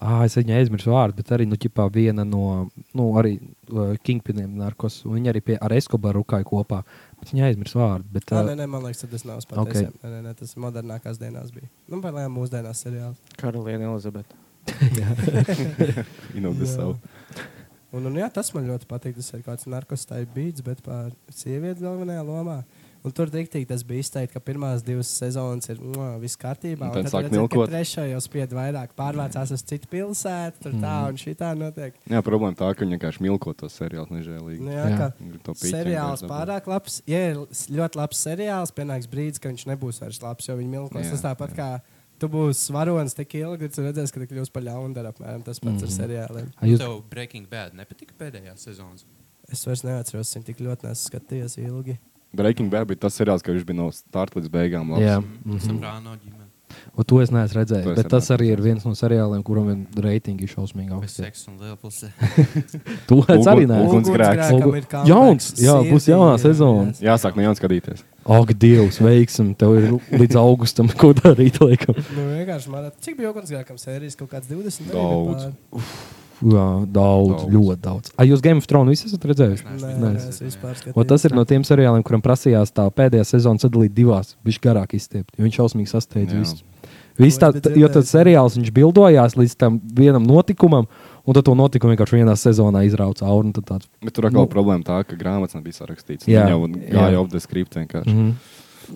I: Ah, es viņai aizmirsu vārdu, bet arī nu, ķipā, viena no nu, arī, uh, kingpiniem narkos. un Viņa arī pie, ar Eskobaru rukāja kopā. Bet viņa aizmirsu vārdu. Bet,
A: Tā
I: uh,
A: nē, nē, man liekas, tas nav
I: Ok.
A: spēcīgs. Okay. Nē, nē, tas ir modernākās dienās. Bija. Nu, vai lai mūsdienās seriāls.
B: Karaliene Elizabete.
D: You know the
A: Jā.
D: sound.
A: Un, un jā, tas man ļoti patīk. Tas ir kāds narkotikas type beats, bet par sievieti galvenajā lomā. Un tur diktīgi tas bija izteikti, ka pirmās divas sezonas ir mwah, viss
I: Nu,
A: kārtībā.
D: Un tad sāk
A: redzat, ka
D: nilkot.
A: trešā jau spied vairāk, pārvācās uz citu pilsētu, tur
I: Mhm.
A: tā un šitā notiek.
D: Jā, problēma tā, ka viņi vienkārši milko to seriālu nežēlīgi.
A: Nu, jā,
I: Jā.
A: jā.
D: Viņi grib to pīķi
A: Seriāls
D: vienkārši dabūt.
A: pārāk labs. Ja ir s- ļoti labs seriāls, pienāks brīdis, ka viņš nebūs vairs labs, jo viņi milkos.
D: Jā,
A: Tas tāpat kā tu būsi svaronis tik ilgi, ka redzēs, ka tu kļūsi par ļaundaru. Apmēram tas pats mm. ar
D: Mhm.
A: seriāliem.
I: ai, jūs,
J: Tev Breaking Bad nepatika pēdējā sezonas.
A: Es vairs neatceros, cik tik ļoti nesu skatījies ilgi.
D: Breaking Bad bija tas seriāls, ka viņš bija no starta līdz beigām. labs.
I: jā,
J: Mm -hmm. Soprāno ģimene.
I: un to es neesmu redzējis.
D: To es
I: Bet
D: arī
I: tas
D: neesmu
I: arī ir viens no seriāliem, kuram ir reitingi šausmīgi
J: Bez
I: augsti.
J: seksa un lielpilsē.
I: To es arī
D: Ugun-
I: neesmu.
D: uguns- Ugunsgrēks.
A: Ugunsgrēkam ir comeback,
I: Jauns, jā, būs
A: sirdī
I: jaunā
A: ir,
I: sezona.
A: jā.
D: Jāsāk no jauna skatīties.
I: Ak, Dievs, veiksim, tev ir līdz augustam, ko darīt. Laikam.
A: Nu, vienkārši man liekas, cik bija ugunsgrēkam sērijas kaut kāds 20 vai
D: Daudz.
A: pār?
I: Jā, daudz, daudz,
D: Daudz.
I: ļoti daudz. Ai, jūs Game of Thrones visi esat redzējuši?
A: Nē,
I: Nē.
A: nē, es vispār
I: O,
A: skatījos.
I: tas ir no tiem seriāliem, kuriem prasījās tā pēdējā sezona sadalīt divās, viņš garāk izstiept. jo Viņš šausmīgi sasteidz
D: Jā.
I: visu. Viss tā,
A: Ko es
I: t-
A: biju
I: jo tas
A: dzirdējis.
I: seriāls viņš bildojās līdz tam vienam notikumam, un tad to notikumu vienkārši vienā sezonā izrauc cauri. un tad Tāds,
D: Bet tur atkal
I: Nu.
D: nu, problēma tā, ka grāmatas nebija sarakstītas.
I: Jā,
D: Jā, jau
I: jā.
D: gāja ap deskriptu vienkārši.
I: mm.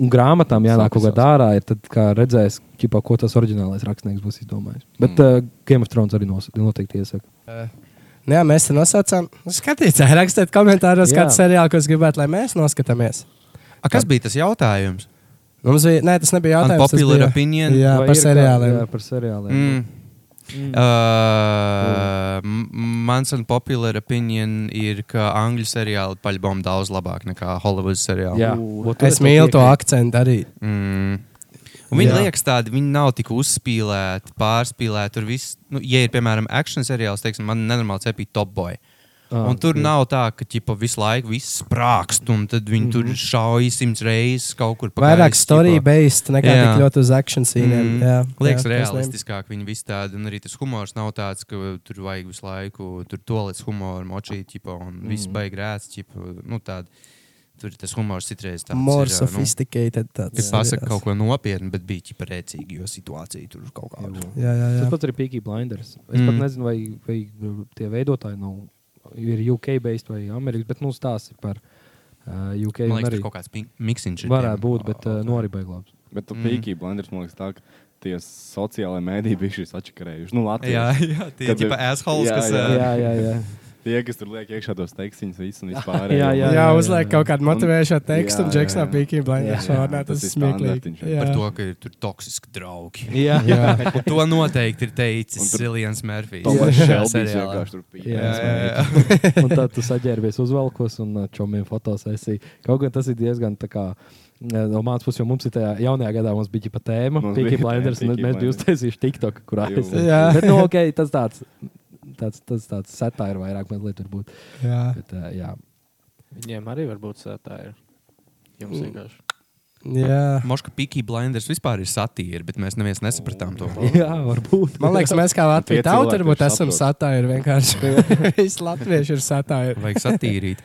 I: Un grāmatām jānāk kaut
D: Sākas
I: kādā ārā, ir tad, kā redzēs, ķipā, ko tas oriģinālais rakstnieks būs izdomājis. Bet mm. uh, Game of Thrones arī nos, noteikti iesaka.
A: Nu Jā, mēs te nosaucām. Skatītāji, rakstiet komentāros,
I: Jā.
A: kādu seriālu jūs gribētu, lai mēs noskatāmies.
J: A, kas bija tas jautājums?
A: Mums bija, nē, tas nebija jautājums. tas
J: Unpopular
A: bija-
J: opinion?
A: Jā,
I: Vai
A: par
I: ir kā-
A: seriāliem.
I: Jā, par seriāliem.
J: Mm. Uh, m- mans un populāra opinion ir, ka angļu seriāli paļbom daudz labāk nekā Hollywoods seriāli.
I: Jā,
A: Tu Es mīlu to akcentu arī.
J: Mm. Un Viņi
A: Jā.
J: liekas, tādi, viņi nav tik uzspīlēti, pārspīlēti. Tur viss, nu, ja ir piemēram akciju seriāls, teiksim, man nenormāli cepīja top boy.
I: Ah,
J: Ah, un tur jā. nav tā, ka ķipa, visu laiku viss sprākst, un tad viņi mm -hmm. tur šauja simts reizes kaut kur pa
A: Vairāk
J: gaisu, ķipa.
A: storija-based nekā
J: Jā.
A: tik ļoti uz action scēniem.
J: Mm.
A: Jā, jā,
J: Liekas,
A: tas neim-
J: realistiskāk viņi visu tādu, un arī tas humors nav tāds, ka tur vajag visu laiku tur tolēts humoru, močīt, ķipa, un mm. viss baigi rēts. Ķipa, nu, tādi, tur tas humors citreiz tāds.
A: More
J: ir, ā, nu,
A: sophisticated. tāds
J: Kad pasakā
A: seriāls.
J: kaut ko nopietnu, bet bija ķipa rēcīgi, jo situācija tur kaut kā tāda.
A: Jā, jā,
I: Tas
A: jā.
I: pats ir Peaky Blinders. Es mm.
J: Mm.
I: pat nezinu, vai, vai tie veidotāji nav, ir UK based vai Amerikas, bet nu stāsti par uh, UK
J: Man
I: un
J: liekas,
I: arī
J: tur kaut kāds mi- miksiņš. ir
I: varētu
J: tiem,
I: būt, bet uh,
J: autoriem.
I: nu arī baiglāps.
D: Bet tu
J: Mm.
D: pīkī, mm. Blenders, man liekas, tā, ka tie sociālai mēdī bija šis atšakarējuši. Nu,
J: Jā,
A: uh,
D: Latvijas.
J: jā, tie ir
D: Kad ir-
J: tikai assholes,
D: jā,
J: kas. uh,
D: jā,
J: ā,
I: Jā, jā, jā.
D: Tie, kas tur liek iekšā tos teksiņus, visu un vispār.
I: Jā, jā,
A: Jā, jā uzliek kaut kādu motivējošu tekstu,
D: Jā,
A: un Džeks
D: jā,
A: no
D: jā.
A: Pīkī
D: Jā,
A: Blinders
D: jā,
A: vārnā. Tas
D: tas
A: ir
D: ir
A: smieklīgi.
D: standartiņš.
J: Par
A: Jā.
J: to, ka ir tur toksiski draugi.
I: jā. jā.
A: Jā.
J: Un to noteikti ir
D: Un
J: teicis
D: tur
J: Ziljans Mērfijs.
D: Tomas
J: šajā
D: Šelbīs
J: seriālā.
D: vienkārši tur
I: Jā,
D: pīkī.
J: Jā, jā, jā.
I: un tad tu saģērbies uzvalkos un ā, čomiem fotosesiju. Kaut gan tas ir diezgan tā kā. ā, No mācības puses, jau mums ir tajā jaunajā gadā, mums bija pat tēma,
D: Mums
I: Pīķa
D: bija
I: Blinders, un
D: tēma, Peaky
I: mēs bijām
D: Blinders.
I: uztaisījuši TikTok, kurā
D: Jū.
I: es.
A: Jā.
I: Bet, nu, ok, tas tāds, tāds, tas tāds satāra vairāk mazliet varbūt.
A: Jā.
I: Bet, uh, jā.
B: Viņiem arī var būt tā ir. Jums vienkārši.
A: Jā.
J: Moška Pikī Blinders vispār ir satīra, bet mēs neviens nesapratām to.
I: jā, varbūt.
A: Man liekas, mēs kā Latvijas
D: Tie cilvēki
A: tauta varbūt
D: taču
A: esam
D: saprot.
A: satīri. Vienkārši viss latvieši ir satīri.
J: Vajag satīrīt.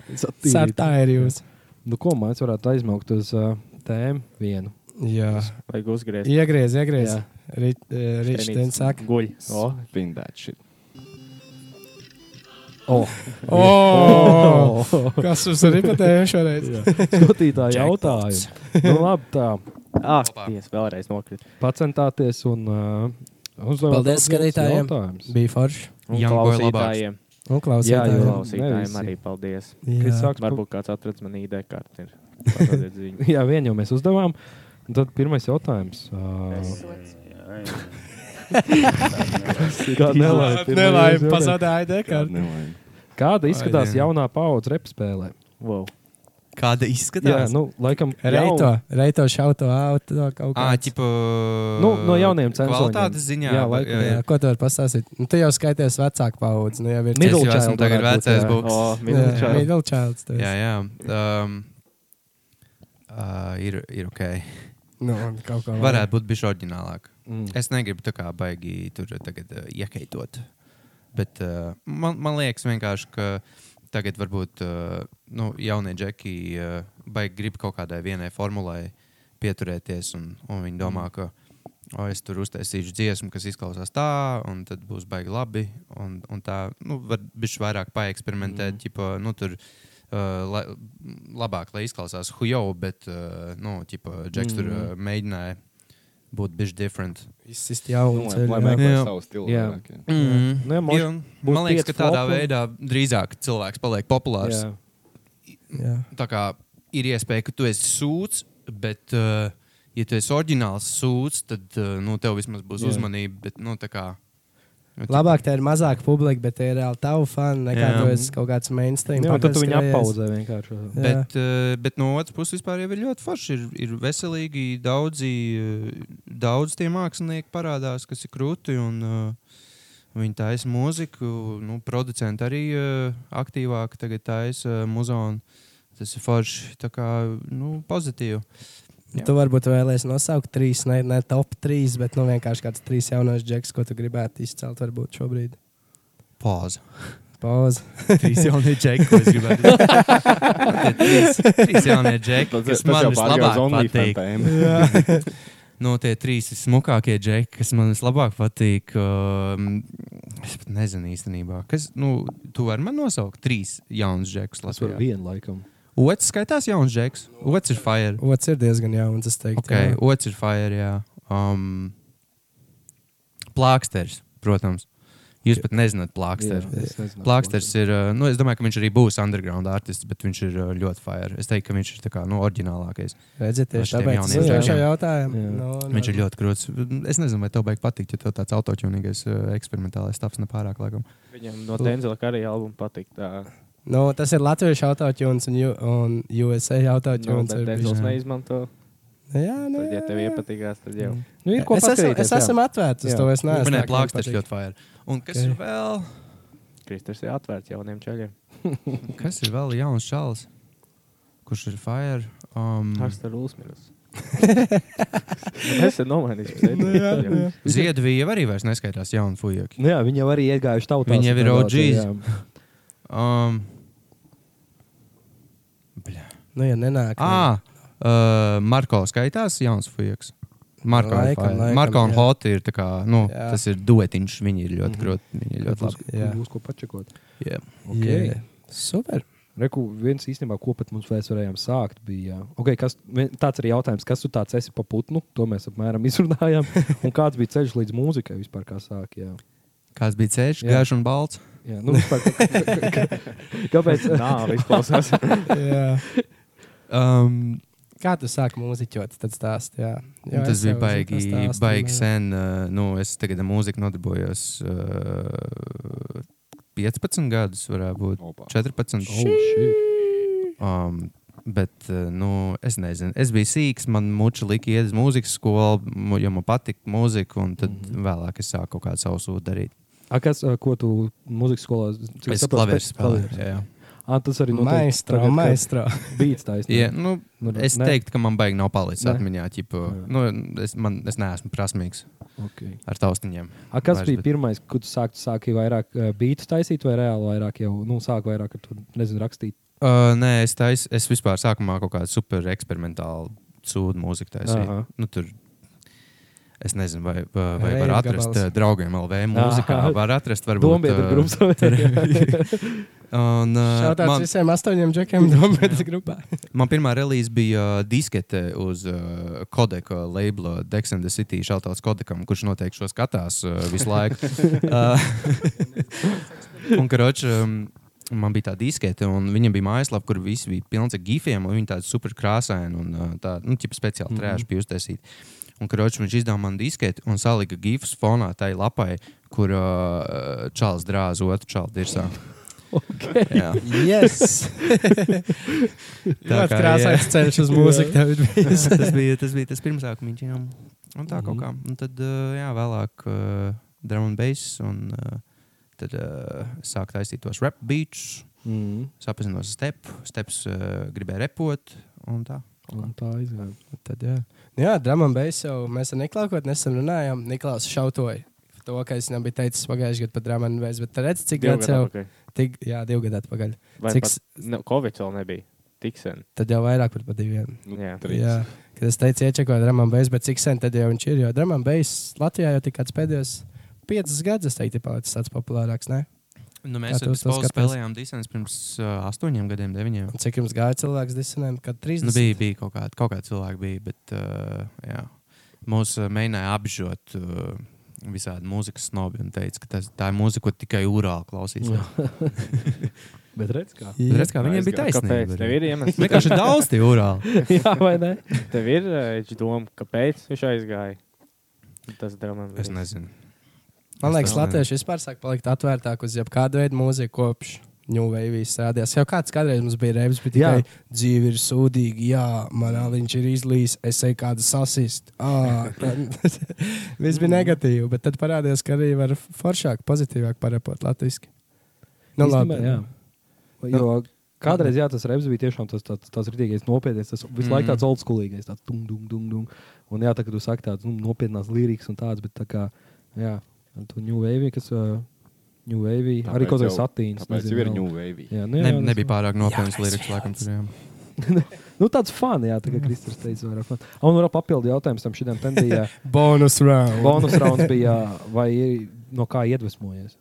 A: Satīri jūs.
I: Nu, ko mēs varētu aizmaukt uz uh, tēmu vienu?
A: Jā.
B: Vajag uzgriezt.
A: Iegriez, iegriez.
I: Jā.
A: Rīčs ten saka.
B: Guļ. O,
D: Spin that shit.
I: O, Oh.
A: Oh! Kas mums ir ripatējis šoreiz?
I: Skatītāji jautājumi. Nu, labi, tā.
B: Ah, Dievs, vēlreiz nokrita.
I: Pacentāties un uh, uzdevāt
A: Paldies
I: atbildus
A: skatītājiem.
I: jautājumus.
A: Bija forši.
B: Un
J: Young boy
B: klausītājiem.
A: Un
I: Jā,
B: Jā,
I: jo-
A: klausītājiem.
I: ne
B: klausītājiem
I: visi.
B: arī paldies.
I: Kad
A: Jā,
I: sāks
B: Varbūt kāds atradz man ID karti. ir. Padodiet ziņu.
I: Jā, vienu jau mēs uzdevām. Un Tad pirmais jautājums. Uh, Kā nelaime, pirmais
A: Nelaime,
I: jautājums.
A: pazudāja dekarta.
D: Nelaime.
I: Kāda izskatās
J: Ai, jā.
I: jaunā paudze repspēlē?
B: Wow.
J: Kāda
I: Jā,
J: izskatās?
I: nu, laikam,
A: Reito, reito šauto auto kaut kā.
J: Ā, ķipa,
I: Nu, no jauniem censoriem.
J: Kvalitātes ziņā.
I: Jā, laikam,
J: jā, jā.
A: Ko tu vari pastāstīt? Nu, tu jau skaities vecāku paudzi. Nu, jau ir
I: Middle
J: Es jau esmu
I: child
J: tagad
I: varētu būt,
J: vecais
I: jā. Oh,
J: būks.
B: O,
A: Jā,
B: middle child.
A: Middle child. tu esi.
J: Jā, jā. Um, uh, ir, ir ok.
A: Nu, un kaut kā
J: Varētu būt bijis orģinālāk.
I: Mm.
J: Es negribu tā kā baigi tur tagad uh, iekaitot. Bet uh, man, man liekas vienkārši, ka tagad varbūt uh, nu, jaunie džeki uh, baigi grib kaut kādai vienai formulai pieturēties. Un, un viņi domā, ka o, es tur uztaisīšu dziesmu, kas izklausās tā, un tad būs baigi labi. Un, un tā, nu, var bišķi vairāk paeksperimentēt. Mm. Ķipa, nu, tur, Uh, la, labāk, lai izklausās hujo, bet, uh, nu, ģipa, Džeks mm. tur uh, mēģināja būt bijis different.
A: Izsist jaunu
D: Lai- Lai
A: ceļu. jā.
D: meklētu
J: Jā.
D: savu stilu.
I: Jā.
D: vairāk, jā.
J: Mm.
I: Nu, ja mož- būs
J: man liekas,
I: pieci
J: ka tādā
I: flopi.
J: veidā drīzāk cilvēks paliek populārs.
I: Jā.
A: Jā.
J: Tā kā ir iespēja, ka tu esi sūds, bet, uh, ja tu esi oriģināls sūds, tad uh, nu, tev vismaz būs
I: Jā.
J: jā. uzmanība. Bet, nu, tā kā, nu, tā-
A: Labāk, tā ir mazāk publika, bet tie ir reāli tavu fani. Nekā
J: Jā.
A: tu esi kaut kāds mainstream.
I: Jā, Nu, un tad tu viņu
A: pakas skrējies.
I: apaudzē vienkārši.
A: Jā.
J: Bet, uh, bet no otras puses, vispār jau ir ļoti forši. Ir, ir veselīgi, daudzi, uh, daudz tie mākslinieki parādās, kas ir krūti. Un, uh, viņi taisa mūziku, nu, producenti arī uh, aktīvāk tagad taisa uh, muzonu. Tas ir forši, tā kā nu, pozitīvi. Jā.
A: Tu varbūt vēlēsies nosaukt trīs, ne, ne top trīs, bet nu, vienkārši kāds trīs jaunos džeks, ko tu gribētu izcelt varbūt šobrīd.
J: Pauze.
A: Pauze.
J: Trīs jaunie džeki, ko es gribētu. Tie trīs, trīs jaunie džeki, kas man vislabāk patīk.
D: tēmu.
J: No Nu, tie trīs ir smukākie džeki, kas man vislabāk patīk. Um, es pat nezinu īstenībā, kas. Nu, tu vari man nosaukt trīs jaunus džekus.
I: Tas var vienu laikam.
J: Otrs skaitās jauns džeks. Otrs ir fire.
A: Otrs ir diezgan jauns, es teiktu.
J: Okay,
A: jā.
J: otrs ir fire. Jā. Um, plāksters, protams. Jūs pat nezināt, plāksters.
I: Jā, es nezinu,
J: Plāksters ir, uh, nu, es domāju, ka viņš arī būs underground artists, bet viņš ir uh, ļoti fire. Es teiktu, ka viņš ir tā kā, nu, oriģinālākais.
A: Redziet, tieši
J: Ar šiem
A: tāpēc es
J: jauniem
A: uzdevu šo
J: džekiem.
A: jautājumu.
I: Jā.
A: Nu, nu.
J: Viņš ir ļoti krūts. Es nezinu, vai tev beigas patikt, ja tev tāds autoķīnīgais eksperimentālais stāsts nepārāk laikam.
B: Viņam no Denzela arī albuma patīk. tā.
A: Nu, tas ir Latvijas autotjūns un, ju- un USA
B: Nu,
A: autotjūns.
B: bet Denzels neizmanto.
A: jā, nu,
B: Tad, ja tev iepatīkās, tad jau.
I: Nu, ir ko
A: es esmu,
I: paskatīties,
A: es
I: jā.
A: esmu atvērts uz
I: Jā.
A: to. Es
J: Nē,
A: neesmu
J: Nē
A: tā, ka man
J: plāksters
A: patīk.
J: ļoti fire. Un kas
A: Ok.
J: ir vēl?
B: Kristers ir atvērts jauniem čaļiem.
J: Kas ir vēl jauns čalis? Kurš ir fire? Um,
B: Harsters Lūsmīlis. Nu, Es esmu nomainījis.
J: Ziedvija arī vairs neskaitās jaunu fujaki.
I: Nu, jā, viņi jau arī iegājuši tautā.
J: Viņi jau ir OGs. Um,
A: Nu, ja nenāk.
J: à, uh, Marko skaitās jauns fujaks. Marko, ir
A: Laikam,
J: fire.
A: laikam,
J: Marko un
A: jā.
J: Hoti ir tā kā, nu,
A: Jā. Mhm.
J: tas ir duetiņš. Viņi ir ļoti grūti. Viņi ir ļoti labi.
A: Jā.
I: Būs ko pačakot.
J: Yeah.
I: Okay.
A: jā. Super.
I: Reku, viens īstenībā, ko pat mums mēs varējām sākt, bija okay, kas, vien- tāds arī jautājums, kas tu tāds esi pa putnu. To mēs apmēram izrunājām. Un kāds bija ceļš līdz mūzikai vispār, kā sāk? Jā,
J: Kāds bija ceļš?
I: Jā.
J: Gaišs un balts.
I: jā nu, vispār, kā- kā- kā- kāpēc?
B: Nā, izklausās.
A: jā.
J: Um,
A: Kā tu sāki mūziķot? Tad stāst, jā.
J: Jo,
A: Jo
J: tas
A: es
J: bija
A: jau
J: baigi,
A: zinu to stāstu,
J: baigi
A: jā.
J: sen. uh, Nu, es tagad ar mūziku nodarbojos uh, 15 gadus, varētu būt
D: Opa.
J: 14.
I: Oh, shit.
J: Um, bet uh, nu, es nezinu, es biju sīgs, man muča lika iet uz mūzikas skolu, mu- jo man patika mūzika, un tad
I: Mhm.
J: mm -hmm. vēlāk es sāku kaut kādu savu sūdu darīt.
I: A, kas, ā, ko tu mūzikas skolā cik
J: Es
I: saprotu,
J: klavieru
I: pēc-
J: spēlēju.
I: klavieres.
J: jā, jā.
I: Ā, Tas arī
A: Maestro, maestro.
I: Bija tas
J: Jā, nu,
I: Nu,
J: es
I: ne.
J: teiktu, ka man baigi nav palicis
I: Ne.
J: atmiņā. Ķipa,
I: Jā.
J: nu, es, man, es neesmu prasmīgs
I: Okay.
J: ar taustiņiem.
I: A, kas
J: Vairs,
I: Vairs, bija
J: bet-
I: bet... pirmais, kad tu sāki, sāki vairāk uh, beidus taisīt, vai reāli vairāk jau nu, sāki vairāk ar to nezinu, rakstīt?
J: Uh, nē, es, tais, es vispār sākumā kaut kādu super eksperimentālu sūdu mūziku taisīju.
I: Aha.
J: Nu, tur Nu, Es nezinu, vai, vai, vai
A: Rave
J: var atrast
A: gabals.
J: eh, draugiem LV mūzikā.
I: Aha.
J: Var atrast, varbūt.
I: Dombietru
J: eh,
I: grupas vēl.
J: un, eh,
A: Šādi
J: man-
A: man... visiem astoņiem džekiem domāts grupā.
J: Man pirmā release bija uh, diskete uz uh, kodeka labela Dex and the City. Šautauts kodekam, kurš noteikti šo skatās uh, visu laiku. uh, un, karoč, um, man bija tā diskete, un viņam bija mājaslapa, kur viss bija pilns ar gifiem, un viņi tādi super krāsaini un uh, tādi nu, ķipa speciāli trēši bija uztaisīti. Un, karoč, viņš izdeva man disketi un salika gifus fonā tai lapai, kur uh, Čāls drāza otru čālu dirsā. Okay. Jā,
A: Yes!
J: Tā
A: Tāds
J: kā,
A: krāsains ceļš uz mūziku tev ir bijis. Mhm.
J: tas bija tas, bija tas pirmsākums. Jā. Un tā kaut kā. Un tad uh, jā, vēlāk uh, drāmas un bass. Un uh, tad uh, sāk taisīt tos rap beats.
D: Mhm.
I: Mm.
J: Sapazinos ar stepu. Steps uh, gribēja repot. Un tā.
I: Un Tā aizgāja.
J: Tad, jā.
A: Jā, Dramam Beigs jau mēs ar Niklausu kaut nesam runājām. Niklaus šautoja. To, ka es viņam biju teicis pagājušajā gadā par Dramanu Beigs, bet redz, cik
B: Divu
A: gads
B: gadu
A: jau
B: atpakaļ.
A: tik, jā, divu gadu atpakaļ.
B: Vai
A: Cik
B: pat-
A: s-
B: ne, Covid vēl nebija. Tik sen.
A: Tad jau vairāk par pa diviem.
B: Jā.
D: Nu, Trīs.
A: Jā, kad es teicu, iečakoju Dramam Beigs, bet cik sen tad jau viņš ir? Jo Dramam Beigs Latvijā jau tik kāds pēdējos piecus gadus, es teiktu, ir palicis tāds populārāks, ne?
J: Nu, mēs
A: Kā
J: ar
A: tu uz to
J: Spāniju
A: skaties?
J: spēlējām disenus pirms uh, astoņiem gadiem, deviņiem.
A: Un cik jums gāja cilvēks disinēm? Kad 30?
J: Nu, bija bija kaut, kāda, kaut kāda cilvēka, bija, bet uh, jā. mūs uh, mēģināja apžot uh, visādi mūzikas snobi un teica, ka tas, tā ir mūzika, ko tikai Urāla klausīsies.
I: Bet redz, kā.
J: Bet Redz, kā viņiem
B: Aizgāja.
J: bija taisnība.
B: Kāpēc? Tev ir iemesls.
J: Vienkārši daudz tie urāli.
I: Jā, vai ne?
B: Tev ir ēģi doma, kāpēc viņš aizgāja. Tas dramam.
J: Es nezinu.
A: Man
J: Es
A: liekas,
J: tā domāju.
A: Latvieši vispār sāk palikt atvērtāk uz jebkādu veidu mūziku kopš. New Wave strādājās. Jau kāds kādreiz mums bija rēvis, bet tikai
I: Jā.
A: dzīve ir sūdīga. Jā, manā viņš ir izlīs, es eju kādu sasist. Ā, tā- Viss bija negatīvi, bet tad parādījās, ka arī var foršāk, pozitīvāk parepot latviešu. Nu, labi.
I: Īstenībā, jā.
D: Nu,
I: Jo kādreiz jā, tas reps bija tiešām tas, tas, tas rītīgais, nopietnais, tas visu
J: Mm.
D: Mhm.
I: laiku tāds oldschoolīgais, tāds dung, dung, dung, dung. Un jā, tā kā tu saki tāds nu, nopietnās līrikas un tāds, bet tā kā, jā, ar to New Wave, kas uh, New Wave,
D: Tāpēc
I: arī kaut kāds
D: jau-
I: satīns.
D: Tāpēc jau ir New Wave.
I: Jā, nu, jā,
J: Ne,
I: jā,
J: nebija pārāk nopietnas
A: Jaunais
J: lirikas, laikam, tur jā.
I: Nu, tāds fani, jā, tā kā Kristers teica, vairāk fani. Un vēl papildu jautājums tam šitiem, ten bija
A: Bonus round.
I: bonus rauns, bija, vai ir no kā iedvesmojies?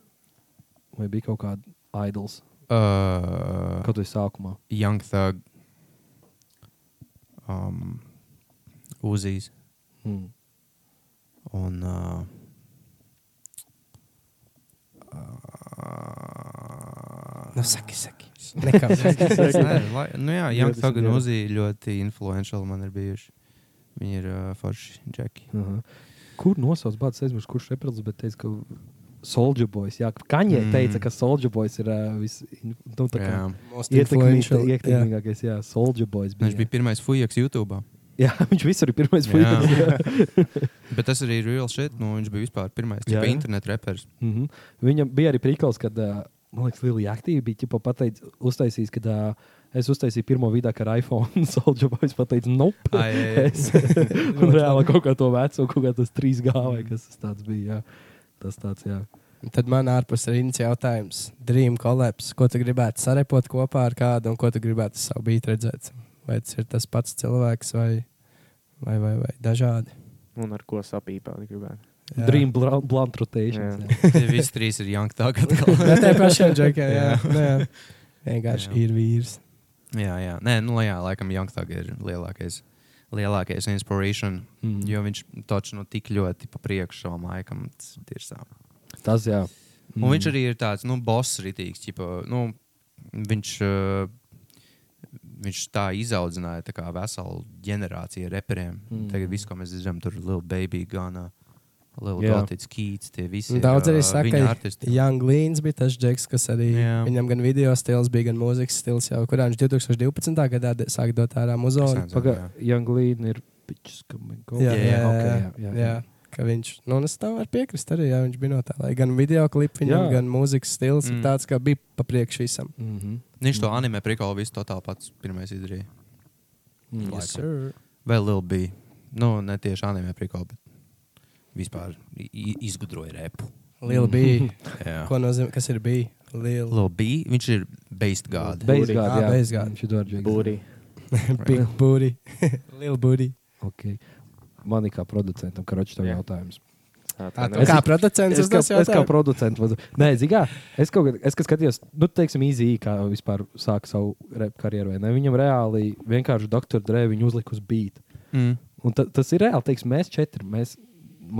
I: Vai bija kaut kāda idols,
J: Uh,
I: kaut vai sākumā?
J: young Thug. Um, Uzīs.
I: Mm.
J: Un. Uh,
A: Nu, saki, saki. Nekā.
J: Es nezinu, lai- nu jā, Young
I: Ļoti
J: Thug un
I: smaržo.
J: Uzi ļoti influential man ir bijuši. Viņi ir uh, forši džeki.
I: Aha. Kur nosauc Bācis Esmers, kurš reprezentē, bet teica, ka Soldier Boys, jā, ka Kaņē
J: Mm.
I: mm. teica, ka Soldier Boys ir uh, vis, nu, tā kā
J: Jā.
I: ietekmīgā- ietekmīgākais, jā, Soldier Boys bija.
J: Viņš bija pirmais fujaks YouTube.
I: jā, viņš visur ir pirmais fujaks.
J: Bet tas arī ir real shit. Nu, viņš bija vispār pirmais
I: Jā,
J: tipa,
I: jā.
J: internet reperis.
I: Mhm. Viņam bija arī prikals, kad, uh, man liekas, Lielija Aktīva bija ķipa pateic, uztaisījis, kad uh, es uztaisīju pirmo video ar iPhone, Soldier Boys pateica, nope.
J: Ai, ai, ai.
I: Es- un reāli kaut kā to veco, kaut kā tas trīs gāvai, kas tas tāds bija, jā. Tas tāds, jā.
A: Tad man ārpus rindas jautājums, Dream Collapse, ko tu gribētu sarepot kopā ar kādu un ko tu gribētu uz savu beidu redzēt? Vai tas ir tas pats cilvēks vai, vai, vai, vai dažādi?
B: Un ar ko sapīpēt gribētu.
A: Jā.
I: Dream Bla- Blunt Rotations,
B: Jā.
I: jā.
J: Tie visi trīs ir Young Thug. atkal.
A: Jā, tā ir pašiem džekiem. Jā, jā. jā. Vienkārši
J: Jā.
A: jā. ir vīrs.
J: jā, jā. Nē, nu, jā, laikam Young Thug ir lielākais, lielākais inspiration.
I: Mm.
J: Jo viņš taču nu, tik ļoti pa priekšu savam laikam. Tas ir sāp.
I: Tas, jā.
J: Mm. Viņš arī ir tāds nu, boss rītīgs. Ķipa, nu, viņš, uh, viņš tā izaudzināja tā kā veselu ģenerāciju ar reperiem. Mm.
I: Mm.
J: Tagad viss, ko mēs zinām, tur ir Little Baby, Gana, Little
I: Jā.
J: Dotis, Keats. Tie visi
A: Un Daudz
J: ir,
A: arī
J: uh,
A: saka,
J: viņa
A: ka
J: artisti.
A: Young Leans bija tas džeks, kas arī
J: Jā.
A: jā. viņam gan video stils bija, gan mūzikas stils, jau kurā viņš 2012. gadā de- sāka dot ārā
J: Es
A: muzonu.
I: Mm.
J: nezinu, jā.
I: Pagaidām, Janglīna ir pičs, kam ir kaut
A: Jā,
J: Jā,
A: jā,
J: jā,
A: jā,
I: ok,
A: jā, jā, jā. Ka viņš, nu, un es tam varu piekrist arī, ja viņš bija no tā, lai gan video klips viņam,
I: Jā.
A: jā. gan mūzikas stils mm.
J: Mm.
A: ir tāds, kā bija pa priekšu visam.
I: Mm -hmm.
J: Viņš to anime prikolu visu totāli pats pirmais izdarīja.
I: Mm.
J: Yes, Vai Little Baby? Nu, ne tieši anime prikolu, bet vispār i- i- izgudroja repu.
A: Liela bija.
J: Jā.
A: Ko nozīmē, kas ir bija? Liela.
J: Little Baby, viņš ir based god.
I: Beigās,
A: Ah,
I: jā.
A: Beizgādi.
I: Viņš ir Dārģis.
B: Būri.
A: Big booty. Liela booty.
I: Okay. man ir kā producentam, karoči, tev
B: Jā.
I: jautājums.
A: Tā, tu
I: Es-
A: kā producents,
I: Es
A: es
I: kā,
A: tas
I: es kā
A: jautāju.
I: producents vadu. Nē, zigā, es kaut kādā veidā skatījos, nu, teiksim, īzī, kā vispār sāka savu rap karjeru. vai ne? Viņam reāli vienkārši doktora drēbiņu uzlika uz beat.
J: Mm.
I: Un ta, tas ir reāli, teiksim, mēs četri. Mēs,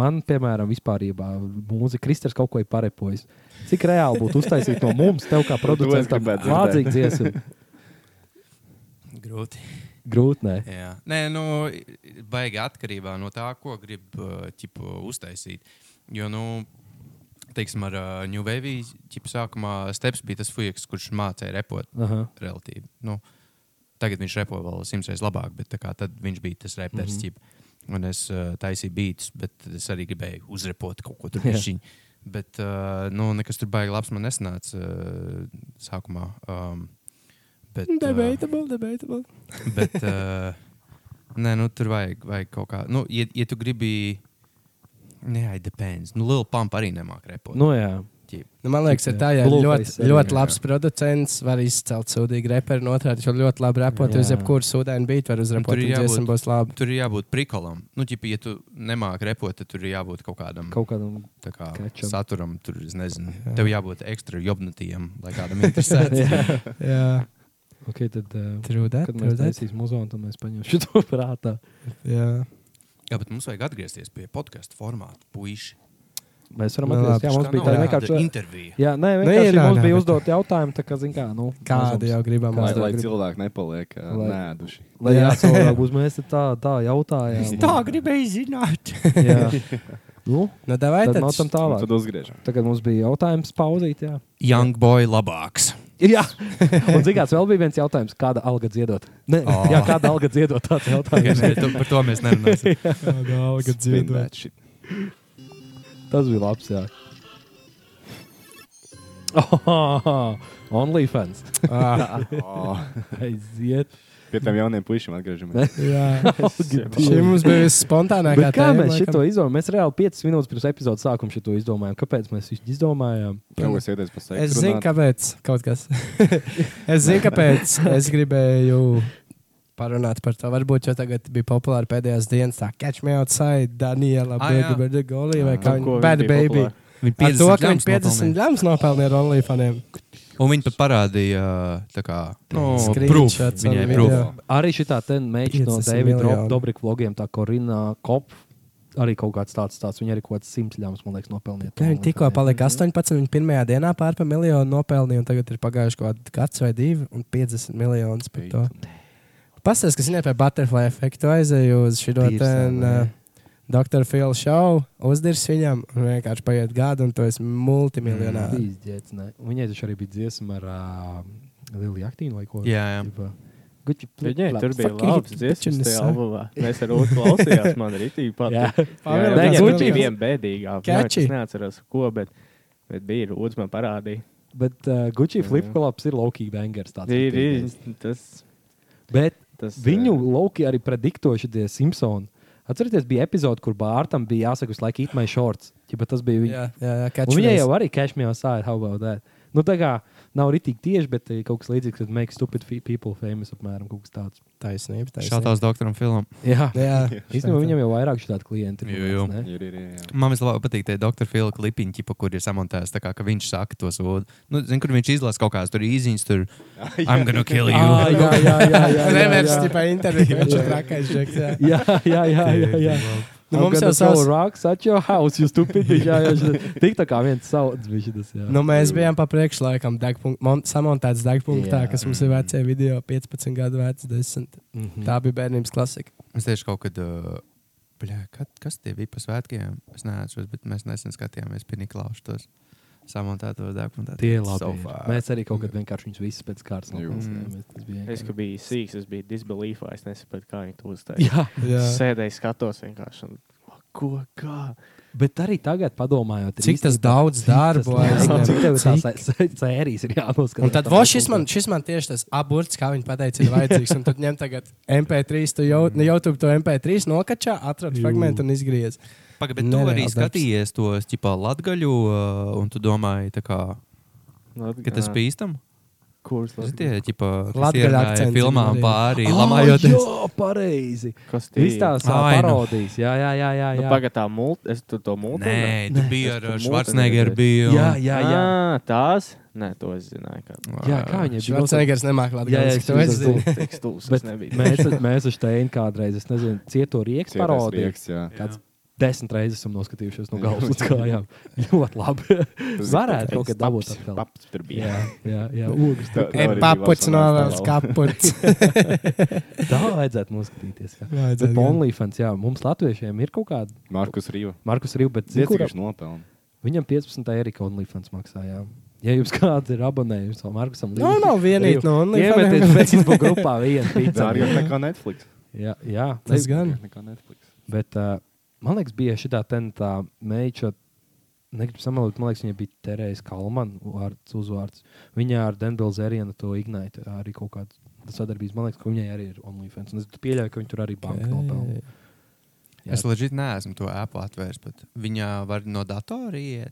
I: man, piemēram, vispārībā mūzika, Kristers kaut ko ir parepojis. Cik reāli būtu uztaisīt no mums, tev kā producentam,
D: gribētu
I: mācīt dziesmu?
J: Grūti.
I: Grūti, nē.
J: Jā. Nē, nu, baigi atkarībā no tā, ko grib uh, ķipu, uztaisīt. Jo, nu, teiksim, ar uh, New Wave ķipu sākumā Steps bija tas fujiks, kurš mācīja repot
I: Aha.
J: relatīvi. Nu, tagad viņš repo vēl simtreiz labāk, bet tā kā tad viņš bija tas reperis. Mm -hmm. Un es uh, taisīju beats, bet es arī gribēju uzrepot kaut ko tur
I: Jā.
J: pišķiņu. Bet uh, nu, nekas tur baigi labs man nesanāca uh, sākumā. Um, bet, uh,
A: Debatable, debatable.
J: Bet, uh, nē, nu, tur vajag, vajag kaut kā. Nu, ja, ja tu gribi. Nē, it depends. Nu, Liela pampa arī nemāķi repot.
I: Nu, jā.
A: Nu, man liekas, ir tā, ja ir
I: Blue
A: ļoti,
I: face arī,
A: ļoti
J: jā.
A: labs producents, var izcelt sūdīgu reperu, un otrādi viņš var ļoti labi repot. Uz
I: Jā.
A: jebkuru sūdainu beigtu var
J: tur
A: uzrepot,
J: ir
A: un dziesma
J: jābūt-
A: būs laba.
J: Tur ir jābūt prikolam. Nu, ķip, ja tu nemāķi repot, tad tur ir jābūt kaut kādam kaut
I: Kaut um, kādam.
J: kā,
I: catcham.
J: saturam. Tur, es nezinu, tev jābūt ekstra jobnatījam, lai kādam interesētu.
A: Jā,
I: Ok, tad. Uh,
A: trūdēt,
I: Kad mēs
A: trūdēt.
I: taisīsim muzeju, tad mēs paņemsim to prātā.
A: Jā.
J: Jā, bet mums vajag atgriezties pie podkāstu formāta. Puiši.
I: Mēs varam
A: Nu,
I: atrast,
A: labi.
I: jā, mums bija tā vienkārši.
J: intervija.
I: Jā, nē,
A: Nē,
I: vienkārši
A: nā,
I: mums
A: nā,
I: bija
A: bet-
I: uzdot jautājumu, tā kā, zin kā, nu.
A: Kādu jau gribam
D: Lai,
A: uzdot?
D: lai cilvēki nepaliek uh,
I: Lai-
D: nēduši.
I: Lai
A: Jā.
I: jā, cilvēki būs, mēs te tā, tā jautājām.
A: gribēju zināt.
I: jā. Nu,
A: Nu, davai
I: tad
A: tad.
I: nācam
D: Un
I: tālāk.
D: Tad uzgriežam.
I: Tagad mums bija jautājums pauzīt, jā.
J: Young boy labāks.
I: Jā, un zigāts vēl bija viens jautājums, kāda alga dziedot? Nē,
J: Ā.
I: jā, kāda alga dziedot tāds
J: Tikai
I: jautājums.
J: ne, tu- Par to mēs nerunāsim.
A: Alga dziedot.
D: Spindēt šit.
I: Tas bija labs, jā. Oh, OnlyFans.
A: Ah.
D: Oh,
I: Aiziet.
D: Pie tiem jauniem puišiem atgriežamies.
A: Jā. Šī
I: Šim
A: mums bija
I: Bet
A: spontānākā
I: kā
A: tēma,
I: mēs
A: laikam.
I: šo izdomājām? Mēs reāli 5 minūtes pirms epizodes sākuma šo izdomājām. Kāpēc mēs to izdomājām?
D: Kaut kas ieties pa seksu.
A: Es zinu, kāpēc. Kaut kas. es zinu, kāpēc. Es gribēju parunāt par to. Varbūt jau tagad bija populāra pēdējās dienas, tā Catch Me Outside, Daniela,
J: Ah, jā.
A: Bērbēda Golī vai kā
B: Ar
A: viņa
B: ko viņi
A: Bad
B: bija
A: Baby.
B: populāri?
J: Viņa
A: Ar to, ka
J: grams
A: viņa 50 grams nopelnīja ar OnlyFaniem.
J: Un viņi pat parādīja, tā kā
I: Nu,
J: no,
A: Screenshots
J: proof,
A: ar
J: viņai
A: video.
J: proof.
I: Arī šī tā meitene no
A: 50
I: Davida
A: miljoni.
I: Dobrika vlogiem, tā Korina Kopa. Arī kaut kāds tāds stāsts. Viņa arī kaut kāds simts ļāvis, man liekas, nopelnīt.
A: Viņa tikko palika 18, viņa pirmajā dienā pārpa miljonu nopelnīja, un tagad ir pagājuši kaut kāds gads vai divi, un 50 miljonus par to. Pastāstiet, kas viņai par butterfly efektu aizēja uz šo
I: Tīrs,
A: tēmu.
I: jā,
A: uh, Doktora Fila šovu uzdirs viņam, un vienkārši paiet gada, un tu esi multimiljonārs.
I: Izdziets, ne. Viņai taču arī bija dziesma ar uh, Liliju Aktīnu vai ko.
J: Jā, jā.
I: Tipā, Gucci plip,
B: Viņai
I: plap,
B: tur bija
A: fuck you,
B: labs
A: bitch,
B: dziesmas
A: un es
B: tajā
A: saku.
B: albumā. Mēs ar Rūtu klausījās, man rītīgi
I: Jā.
B: patīk.
A: Pavēl,
B: Viņa
A: tas
B: bija
A: bija
B: viena bēdīgā. Nu,
A: Catchy.
B: Es neatceros, ko, bet, bet bija Rūts man parādīja.
I: Bet uh, Gucci flipflops ir laukīgi bangers. tāds,
B: Ir, ir,
I: patīkams.
B: tas,
I: Bet
B: tas,
I: Viņu
B: eh,
I: lauki arī prediktoja šie Simpsoni. Atcerieties, bija epizode, kur Bārtam bija jāsaka, visu laiku īstenībā šorts. Ja tas bija viņa.
A: Jā, jā, jā,
I: Mm. Un Viņai jau
A: catchphrase.
I: arī cashmere sāra, how about that? Nu, tā kā nav rītīgi tieši, bet ir kaut kas līdzīgs, kad make stupid fe- people famous apmēram kaut kas tāds.
A: Taisnība, taisnība.
J: Šādos doktoram Filam.
I: Jā,
A: Jā,
I: īstenībā viņam jau vairāk šādu klientu ir.
J: Jo, jo.
I: man liekas, ne?
D: Ir, ir, ir, jā.
J: Man vislabāk patīk tie doktora Fila klipiņi, pa, kur ir samontēts, tā kā, ka viņš saka tos vārdus. Nu, zin, kur viņš izlasa kaut kādas tur īziņas, tur I'm gonna kill you.
I: Ā, Ah, jā, jā, jā, jā, jā,
A: Revers,
I: jā.
A: tipā interviju, viņš ir trakais žeks. jā.
I: Jā, jā, jā, jā, jā.
A: Nu,
I: I'm
A: mums
I: gonna
A: jau savs-
I: throw rocks at your house, you stupid. bitch. Jā, jā, šitā- Tik tā kā viens sauc, bija šis.
A: Nu, mēs bijām pa priekšu laikam degpunk- mon- samontēts degpunktā,
I: Jā. Mm.
A: kas mums ir vecie video, 15 gadu vecs, 10.
I: Mhm.
A: Tā bija bērnības klasika.
J: Es tieši kaut kad, uh, bļā, kad, kas tie bija pa svētkiem? Es neatceros, bet mēs nesen skatījāmies pie Niklauša tos samontētos dokumentus.
I: Tie ir labi. ir. Mēs arī kaut kad vienkārši viņus visus pēc kārtas
D: Jū.
I: nopelnījām. Tas bija
B: Es
I: vienkārši-
B: ka biju sīgs, es biju disbeliefā, es nesapratu, kā viņi to uztaisīja.
I: Jā,
B: Sēdēju, skatos vienkārši. Un, ko, kā?
I: bet arī tagad padomājot, ir
A: Cik tas
I: īstenībā-
A: daudz darba
I: Jā, cik tev ir
A: aizņem.
I: tās sē- sērijas ir jānoskatās.
A: Un tad vo, šis, man, šis man tieši tas aburts, kā viņi teica, ir vajadzīgs. Un tad ņem tagad MP3, tu jau no YouTube to MP3 nokačā, atrod fragment un izgriez.
J: Pagaid, bet tu
A: Nereāls
J: arī
A: darbs.
J: skatījies tos, tipā, latgaļu, uh, un tu domāji, tā kā,
B: Nu,
J: ka tas
B: jā.
J: bīstam?
B: Kurs,
J: Tas tie ķipa, kas
A: Latgaļa
J: ienāja
A: akcents
J: filmām
A: viņiem.
J: pāri,
I: Ah,
J: lamājoties.
I: Jā, pareizi.
B: kas tie
I: Viss tās ā,
J: Ai, nu.
I: parodijas. Jā, jā, jā. jā,
B: Nu,
I: jā.
B: Pagaidā, tā multi, es tur to multi.
J: Nē, tu biji
B: es
J: ar
B: tur
J: uh,
B: mūteni
J: Schwarzeneggeru.
B: redzēju.
J: biju, un-
I: jā, jā, jā.
B: Ā, Ah, tās? Nē, to es zināju. Kā...
I: jā kā viņiem bija?
A: Švarcenegers nemāk
I: Jā, jā,
A: latgaliski,
I: es
A: to es
I: saprotu.
A: zinu.
B: Tik stulbs
I: Bet
B: es nebiju.
I: mēs, ar- mēs ar Steinu kādreiz, es nezinu, cieto riekas
D: Cietais
I: parodiju.
D: rieks, jā.
I: Kāds desmit reizes esam noskatījušies no galvas līdz kājām. Ļoti labi. Varētu kaut kad dabūt atkal.
B: Paps tur bija.
I: Jā, jā, jā. Ogres.
D: Tā- tā
A: E,
D: arī bija
A: Paputs
D: labs
A: novēls,
D: anāls.
A: kaputs.
I: Tā vajadzētu noskatīties. Jā.
A: Vajadzētu,
I: Bet
A: jā.
I: OnlyFans, jā, mums latviešiem ir kaut kāda
D: Markus Rīva.
I: Markus Rīva, bet zini, kuram-
D: Ziedzīgs nopelns.
I: viņam 15. erika OnlyFans maksājām. Ja jums kāds ir abonējums, vēl Markusam
A: Nu, nav vienīgi no OnlyFans.
I: Iemetiet Facebook grupā vienu
D: Tā
I: pīcā.
D: arī ir nekā Netflix.
I: Jā, jā.
A: Tas gan.
D: Nekā Netflix.
I: Bet, uh, man liekas, bija šī tā meitene, negribu samalot, man liekas, viņa bija Terēza Kalmana vārds, uzvārds. Viņa ar Danielu Zērienu to ignite arī kaut kāda sadarbības. Man liekas, ka viņai arī ir OnlyFans. Un es pieļauju, ka viņi tur arī banka nopelna. Jā.
J: Es leģitāri neesmu to apli atvēris, bet viņa var no datora iet.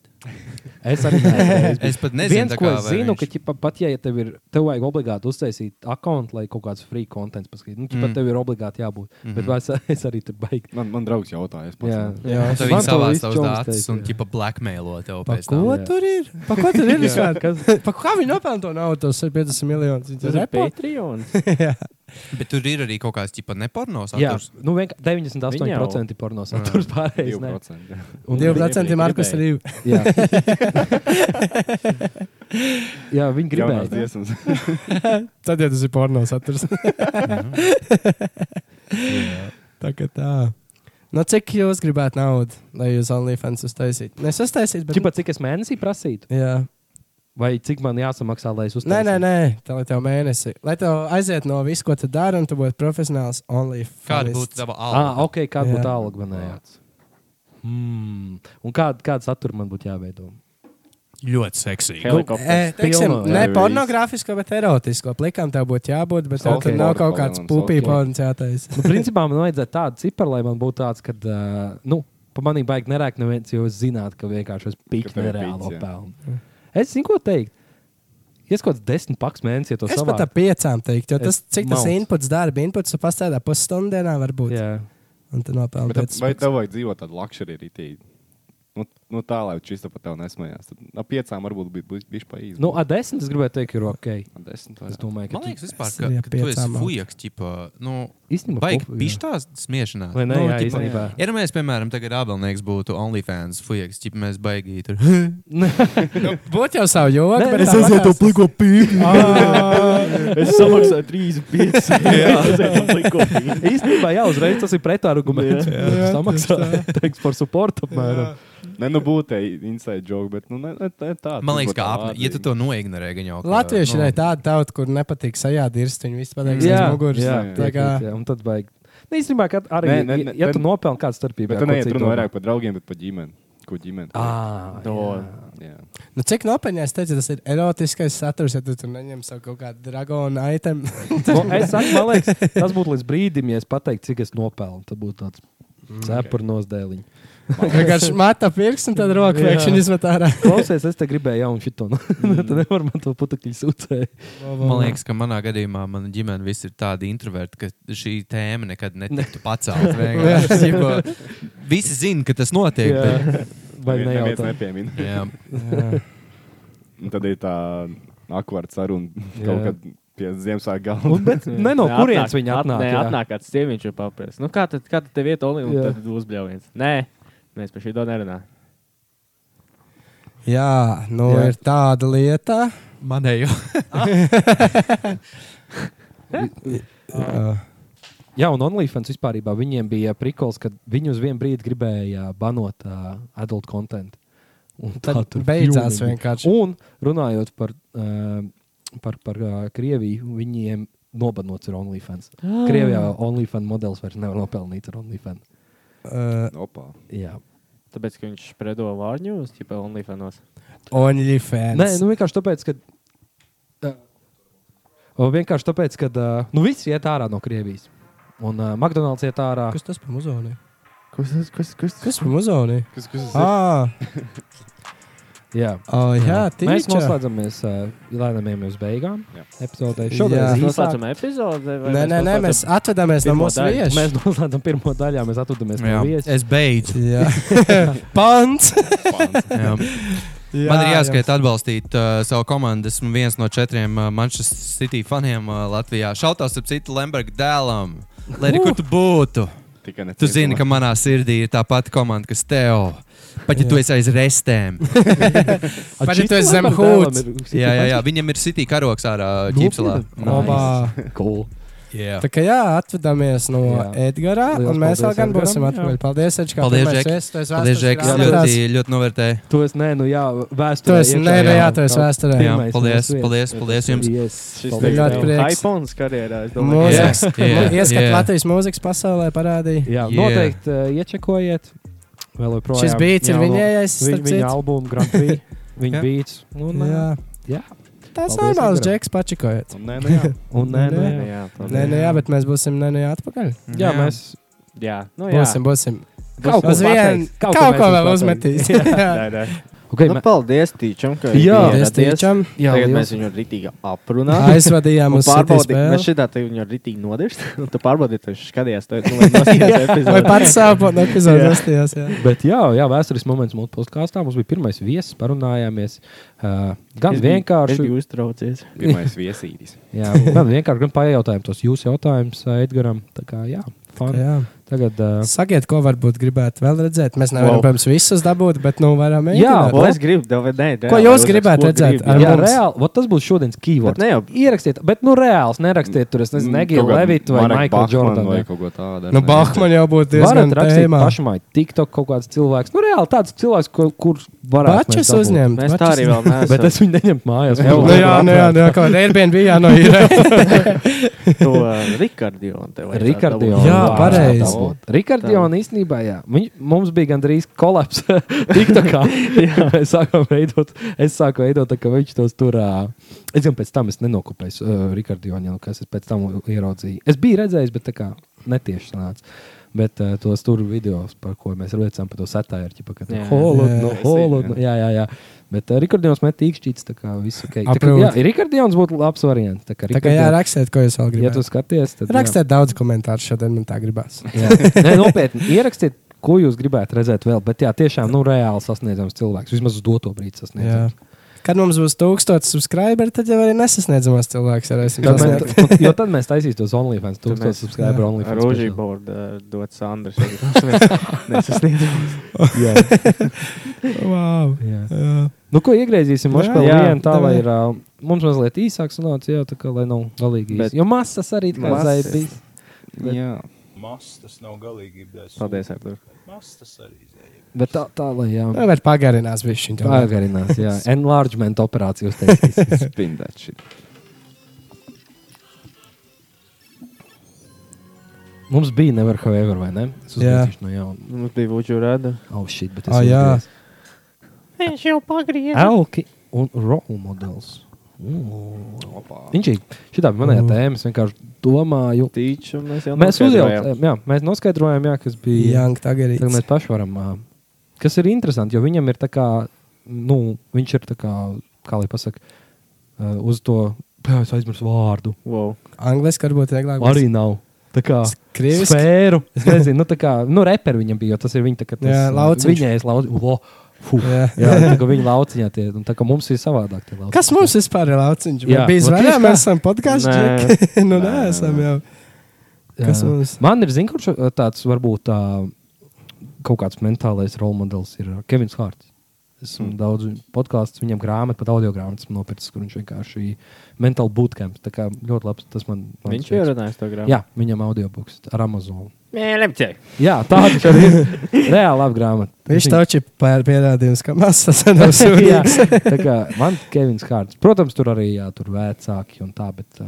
I: Es arī neesmu.
J: Es pat nezinu,
I: Viens,
J: tā
I: ko
J: kā,
I: es
J: vai
I: zinu,
J: viņš-
I: ka ķipa, pat ja tev ir, tev vajag obligāti uztaisīt kontu, lai kaut kāds free konts paskatītu. Nu, ķipa,
J: Mm. Mhm.
I: mm. tev ir obligāti jābūt. Mm -hmm. Bet vai es, es arī tur beigtu.
D: Man, man draugs jautāja, es pats.
I: Jā,
D: nezinu.
A: Jā,
J: Tad
I: Man
J: viņi
I: to
J: savās
I: visu
J: savus
I: čoms
J: datus
I: teica,
J: un
I: jā.
J: ķipa blackmailo tev
A: Pa
J: pēc
A: ko
J: tam.
I: jā.
A: tur ir? Pa ko tur ir?
I: Jā,
A: vispār?
I: kas,
A: Pa kā viņi nopelna to naudu, tos 50 miljonus? Viņi
B: Tas ir
A: repo?
B: Patreons.
A: Jā.
J: Bet tur ir arī kaut kāds ķipa neporno
I: Jā,
J: saturs.
I: nu, vienkār- 98% porno saturs pārējais. ne?
D: 2%. jā.
A: Un
B: Gribēja.
A: 2% Markus Rīva.
I: Jā, jā viņi
D: Jaunās
I: gribēja.
D: dziesmas.
A: Tad jau tas ir porno saturs.
I: Mhm.
J: Jā.
A: tā kā tā. Nu, cik jūs gribētu naudu, lai jūs OnlyFans uztaisītu? Nesastaisīt, bet...
I: Čipa, cik es mēnesī prasītu?
A: Jā.
I: Vai cik man jāsamaksā, lai es uztaisītu?
A: Nē, nē, nē, tā lai tev mēnesi. Lai tev aiziet no visu, ko tu dari, un tu būtu profesionāls OnlyFans.
J: Kāda būtu tava
I: Ah,
J: alga?
I: ok, kāda būtu
A: Jā.
I: alga man jāsaka? Mm. Un kāda, kāda satura man būtu jāveido?
J: Ļoti seksīga.
B: Helikopters.
A: E, teiksim,
I: Pilno, jā.
A: ne
D: Jā,
A: pornogrāfisko, bet erotisko. Plikām tev būtu jābūt, bet tev
I: Soft
A: tur nav kaut
D: porno
A: kāds
D: un
A: pupī
D: soft
A: porns jātaisa.
I: Nu, principā man vajadzētu tādu ciparu, lai man būtu tāds, ka uh, nu, pa manī baigi nerēkt neviens, jo es zinātu, ka vienkārši es
D: Ka
I: piktu
D: tev ir
I: nereālo
D: pīķis, jā.
I: pelnu. Es zinu, ko teikt. Es kaut kāds desmit paks mēnesī ja to
A: Es pat
I: savāktu.
A: ar piecām teiktu, jo tas,
I: Es
A: cik tas
I: mauc.
A: inputs darba, inputs tu pastādā pusstundienā varbūt.
I: Jā,
A: Un tu nopelni
D: Bet,
A: piecas
D: vai
A: piksas.
D: tev vajag dzīvot tādā lakšerī rītī? Nu, nu tā, lai čista par tevi nesmējās. Tad, no piecām varbūt bija bijis pa īsi.
I: nu, ar desmit es gribēju teikt, ir ok.
D: no desmit.
I: Es domāju, ka
J: Man liekas, vispār,
A: Es
J: ka,
A: arī
J: ka tu esi
A: piecām alga.
J: fujaks, ķipa, nu,
I: Īstenībā
J: baigi
I: fufu, jā.
J: pištās smiešanās.
I: Vai ne?
J: Nu,
I: Jā,
J: ķipa,
I: īstenībā.
J: Ja nu mēs, piemēram, tagad abelnieks būtu OnlyFans fujaks, ķipa, mēs baigīgi tur.
A: Būtu jau savu joku,
I: Nē,
A: bet
I: nē,
A: es aiziet to pliko pīku.
I: Ah.
B: Es samaksāju 35. Jā,
I: Īstenībā, jā, uzreiz tas ir pretarguments. Jā, samaksā teiks par supportu apmēram.
D: Ne, nu būtu tā inside joke, bet nu, ne, ne, ne, tā.
J: Man liekas,
D: turbūt
J: ka,
D: tā
J: apne, ja tu
D: vārdība.
J: to noignorē, gan jau. ka,
A: Latvieši
J: nu,
A: ir tāda tauta, kur nepatīk sajādirst, viņi visu pateiks aiz
I: jā,
A: muguras.
I: jā,
A: Tā kā
I: piekrīt, jā, un tad baig. Nu, īstenībā, kad arī,
D: Nē, nē,
I: ja-
D: nē,
I: ja tu
D: tad-
I: nopelni kādu starpību,
D: Bet tu neiet runa vairāk par draugiem, bet par ģimeni. Ko ģimeni?
I: Ah, jā.
D: jā.
A: Nu, cik nopietni es teicu, tas ir erotiskais saturs, ja tu tur neņem savu kaut kādu dragonu item.
I: Nu, es saku, man liekas, tas būtu līdz brīdim, ja es pateiktu, cik es nopelnu. Tas būtu tāds
D: Mm,
I: cepurnos dēliņš.
A: Vienkārši mata pirksts un tad roku
I: Jā.
A: pēkšņi izmet ārā.
I: Klausies, es te gribēju jaunu šito.
D: Mm.
I: Tad nevar man to putekļi sūcēt.
J: Man liekas, ka manā gadījumā mana ģimene viss ir tāda introverta, ka šī tēma nekad netiktu pacelta. vienkārši, ķipa, Visi zina, ka tas notiek. bet-
I: Vai
D: Nevien-
I: ne jau
D: neviens
I: tā?
D: nepiemina.
J: Jā.
D: Un Tad ir tā akvārds saruna kaut
I: Jā.
D: kad pie
I: Un,
D: Ziemassvētku galda.
I: bet ne no kurienes viņi atnāk.
B: Nē,
I: jā.
B: atnāk kāds sieviņš un paprasa. Nu, kā tad, kā tad tev iet olī un
I: Jā.
B: tad uzbļaujiens? Nē, mēs par šī to nerunājam.
A: Jā, nu
I: Jā.
A: jā. ir tāda lieta.
J: Manējo.
A: Jā.
I: Jā, un OnlyFans vispār viņiem bija prikols, ka viņi uz vienu brīdi gribēja banot uh, adult kontentu. Un tā
A: Tad
I: tur
A: beidzās
I: jūnijā.
A: vienkārši.
I: Un runājot par, uh, par, par uh, Krieviju, viņiem nobanots ir OnlyFans. Krievijā OnlyFans modelis vairs nevar nopelnīt ar OnlyFans.
A: Uh,
D: Opa.
I: Jā.
B: Tāpēc, ka viņš spredo vārņos, ja pa OnlyFanos.
A: OnlyFans.
I: Nē, nu vienkārši tāpēc, ka. Uh, vienkārši tāpēc, ka uh, nu, viss iet ārā no Krievijas. Un uh, McDonald's iet ārā.
A: Kas tas par muzoni?
D: Kas tas? Kas, kas,
A: Kas par muzoni?
D: kas, kas, kas
A: Ā!
I: Jā.
A: Oh, jā,
I: Mēs
A: tīčā.
I: noslēdzamies uh, lēnām uz beigām.
D: Jā.
I: Epizodē
A: Jā.
I: šodien
B: Mēs
I: ir
B: noslēdzam epizodi. vai
A: Nē, nē, nē,
B: noslēdzam
A: mēs atvedāmies no
B: pirmo
A: mūsu
B: daļu?
A: vieša.
I: Mēs noslēdzam pirmo daļu, jā, mēs atrodamies pie
J: Jā.
I: viesis.
J: Es beidzu.
A: Jā, pants.
J: Jā.
A: Jā,
J: Man ir jāskaita atbalstīt uh, savu komandu. Esmu viens no četriem uh, Manchester City faniem uh, Latvijā. Šautās ar citu Lemberga dēlam. Lai arī kur tu būtu,
D: Tikai ne
J: tu
D: cietuma.
J: zini, ka manā sirdī ir tā pati komanda, kas tev. Pat ja tu esi aiz restēm. nu
A: Pat ja tu esi zem hūts.
J: jā, jā, jā, viņam ir City karoks ārā ķipselā.
A: Labā.
I: Cool.
J: Jā.
A: Tā kā jā, atvedāmies no
I: Jā.
A: Edgara,
I: Liels
A: un mēs vēl
I: paldies
A: gan būsim
I: Edgaram, jā.
A: atpakaļ. Paldies, Edžika.
J: Paldies, Žek. Paldies, Žeks. Ļoti, ļoti novērtēju.
I: Tu esi, nē, nu jā,
A: Tu
I: vēsturē.
A: esi nerejātais vēsturē.
J: Jā,
I: Pirmais
J: paldies,
I: mūsu
J: paldies, paldies jums.
I: Yes.
B: Šis
I: Paldies
B: te
A: ļoti
I: tev.
A: prieks.
B: Aipons karjerā, es domāju.
J: Mūzika.
A: Mūzikas.
J: Jā, jā,
A: Ieskat
J: jā.
A: Latvijas mūzikas pasaulē parādīja.
I: Jā,
J: Yeah.
I: noteikti uh, iečekojiet. Vēl joprojām.
A: Šis beats ir
I: Jā, nu,
A: viņējais,
I: Viņa,
A: starp citu.
I: viņa albuma Grand Prix. Viņa
J: Jā.
I: beats. Un,
A: Jā.
I: uh, jā.
A: Tas
I: Paldies,
A: normāls,
I: Edgaram.
A: Džeks, pačikojiet.
D: Un Nē, nu jā.
I: Un nē, nē.
B: Nē, jā, paldies.
A: Nē, nē, jā, bet mēs būsim nē, nē, atpakaļ.
I: Jā, mēs
B: Jā, nu jā.
A: Būsim, būsim.
I: Nu, Kaut ko
A: Uz vienu,
I: pateiks, kaut ko
A: kaut
I: mēs
A: ko
I: jums
A: vēl
I: pateiks.
A: uzmetīs. Jā,
B: Nē, nē.
I: Okay,
B: Nu,
I: mē-
B: paldies, Tīčam, ka
I: Jā.
A: Paldies,
B: ieradāties.
A: Tīčam.
I: jā,
B: Tagad
I: liels-
B: mēs viņu ritīgi
I: Nu.
B: aprunājam.
A: Aizvadījām
B: Un
A: uz City
B: pārbaudi,
A: spēli.
B: mēs šitā te viņu ritīgi nodirst, un tu pārbaudi, tu skaties, tu tu vai noskaties
A: Vai
B: epizodi.
A: pats sāpot nu, no epizodes
B: Jā.
A: astījās, jā.
I: Bet, jā, jā, vēstures moments mūsu podkāstā. Mums bija pirmais viesis, parunājāmies. Uh, gan
B: Es biju- Es
I: vienkārši,
B: biju uztraucies.
D: Pirmais viesītis.
I: jā, gan vienkārši, gan pajautājām tos jūsu jautājumus uh, Edgaram. Tā kā, jā, fun.
A: jā.
I: Tagad, uh,
A: Nu, Sakiet, ko varbūt gribētu vēl redzēt. Mēs nevaram, wow. protams, visus dabūt, bet nu varam
I: Jā,
B: Ko
I: Ko?
B: es gribu? Tev, nē,
A: Ko
B: reāli
A: jūs
B: uzrakst,
A: gribētu
B: ko
A: redzēt?
B: gribi.
A: Ar
I: jā,
A: mums.
I: reāli, vot tas būs šodienas
B: Bet
I: keywords.
B: ne jau
I: Ierakstiet, bet nu reāli nerakstiet tur, es
A: Mm,
I: nezinu, Negiju
D: Mm, Kaut kā
I: Levitu vai
D: Marek
I: Michael
D: Bachman
I: Jordanu.
D: Vai
I: jā.
D: kaut ko tādu.
A: Nu, Bahman jau būtu diezgan
I: Varat rakstīt
A: tēmā.
I: pašam, TikTok kaut kāds cilvēks. Nu, reāli tāds cilvēks, kur, kur varētu.
A: Bačas
I: mēs dabūt.
A: uzņemt.
B: Mēs tā
A: bačas
B: arī vēl neesam.
I: Bet es viņu neņemu mājās.
B: Jā,
A: Nu, jā, nu, jā, nu, jā, kaut kāda Airbnb jānoīrē.
B: to uh, Rikardionu. tev vajadzētu
I: Rikardionu.
B: dabūt.
A: Jā, pareizi.
I: Rikardionu īstenībā, jā. Viņ, mums bija gandrīz kolaps. TikTokā. jā, mēs sākām veidot. Es sāku veidot, tā kā viņš tos tur. ā, Es gan pēc tam es nenokopēju uh, Rikardionu, kas es pēc tam ieraudzīju. Es biju redzējis, bet tā kā netieši sanāca. Bet uh, tos tur video, par ko mēs runājām, par to satāru, jau tādā
B: Jā.
I: formā,
D: Jā,
I: kāda
D: es zinu,
I: ir. Jā, jā, jā. Bet uh, Rikardions met īkšķīts, tā kā viss ok. Tā kā, jā,
A: Approve.
I: Rikardions būtu labs variants. Tā kā
A: Tā kā jā,
I: Rikardions-
A: rakstiet, ko jūs vēl
I: ja tu
A: gribat.
I: skaties, tad jā.
A: Rakstiet daudz komentāru šodien, man tā gribās.
I: Jā. Nē, nopietni, ierakstiet, ko jūs gribētu redzēt vēl. Bet jā, tiešām nu, reāli sasniedzams cilvēks. Vismaz uz doto brīdi
A: Jā.
I: sasniedzams.
A: Kad mums būs tūkstotis subscriberi, tad jau arī nesasniedzamos cilvēks varēsim
I: Tad
A: sasniegt.
I: mēs, jo tad mēs taisīsim tos OnlyFans,
B: Tad
I: tūkstošu
B: mēs-
I: subscriberu
B: Ar
I: OnlyFans.
B: Rūžī
I: special.
B: bordu uh, dot Sandrs. Nesasniedzam.
I: Jā,
A: Wow.
I: jā.
A: Jā.
I: Nu, ko iegriezīsim? Mums vēl
B: jā,
I: viena tā,
A: tā
I: lai
A: vien.
I: ir. ā, Mums mazliet īsāks sanāca, jā, tā kā lai nav galīgi
B: Bet-
I: īsi. Jo masas arī tā kā
B: Masas.
I: zaibīs.
D: Jā.
B: Paldies, Artur.
I: Bet tā, tā lai jā.
A: Nu, Vai pagarinās viņš viņu?
I: Pagarinās, jā. Enlargement operāciju uztaisīs.
D: Spindēt šit.
I: Mums bija never have ever, vai ne? Es
A: Jā.
I: uztaisīšu no jauna.
B: Mums bija Vuču Rada.
I: Oh, shit, bet es
A: Ah, jā.
I: uzgriezu. Elki un role models. Viņš ir šitā bija manā tēmā. Es vienkārši domāju,
B: Tīču mēs jau
I: mēs
B: noskaidrojām.
I: uzjautājām, jā, mēs noskaidrojām, jā, kas bija.
A: Jank Tagarīts.
I: Tagad mēs paši varam. ā, Kas ir interesanti, jo viņam ir tā kā, nu, viņš ir tā kā, kā lai pasakā, uz to, jā, es aizmirsu vārdu.
B: Wow.
A: Angliski varbūt vieglāk. būs.
I: Arī nav. Tā kā
A: S- krieviski?
I: sfēru. Es nezinu, nu, tā kā, nu, reperi viņam bija, jo tas ir viņa, tā kā, tas,
A: Jā, lauciņš.
I: Viņai es lauciņu. Fuh, jā,
A: Jā.
I: tā kā viņi lauciņā tie, un tā kā mums ir savādāk tie lauciņi.
A: Kas mums vispār ir lauciņš?
I: Jā.
A: Jā, bija
I: Nu,
A: zvaigžā,
I: tieši tā.
A: mēs esam podkāstā.
B: Nē.
A: nu, nē, esam jau. Kas
I: Jā.
A: mums?
I: Man ir zināms, kurš ā, tāds varbūt tā, kaut kāds mentālais role models ir ā, Kevins Hārts. Esmu mm. daudz podkāstu, viņam grāmatu, pat audio grāmatu esmu nopircis, kur viņš vienkārši mentāli bootcamp. Tā kā ļoti labs tas man man
B: Viņš
I: prieks.
B: ierunāja to grāmatu.
I: Jā, viņam audio books ar Amazon.
B: Nē, lemķē.
I: Jā, tā viņš arī ir. Reāli labi grāmata.
A: Viņš taču ir pār- pierādījums, ka masas ir
I: Jā,
A: sūdzīgs.
I: tā kā man Kevins Hārts. Protams, tur arī jā, tur vecāki un tā, bet uh,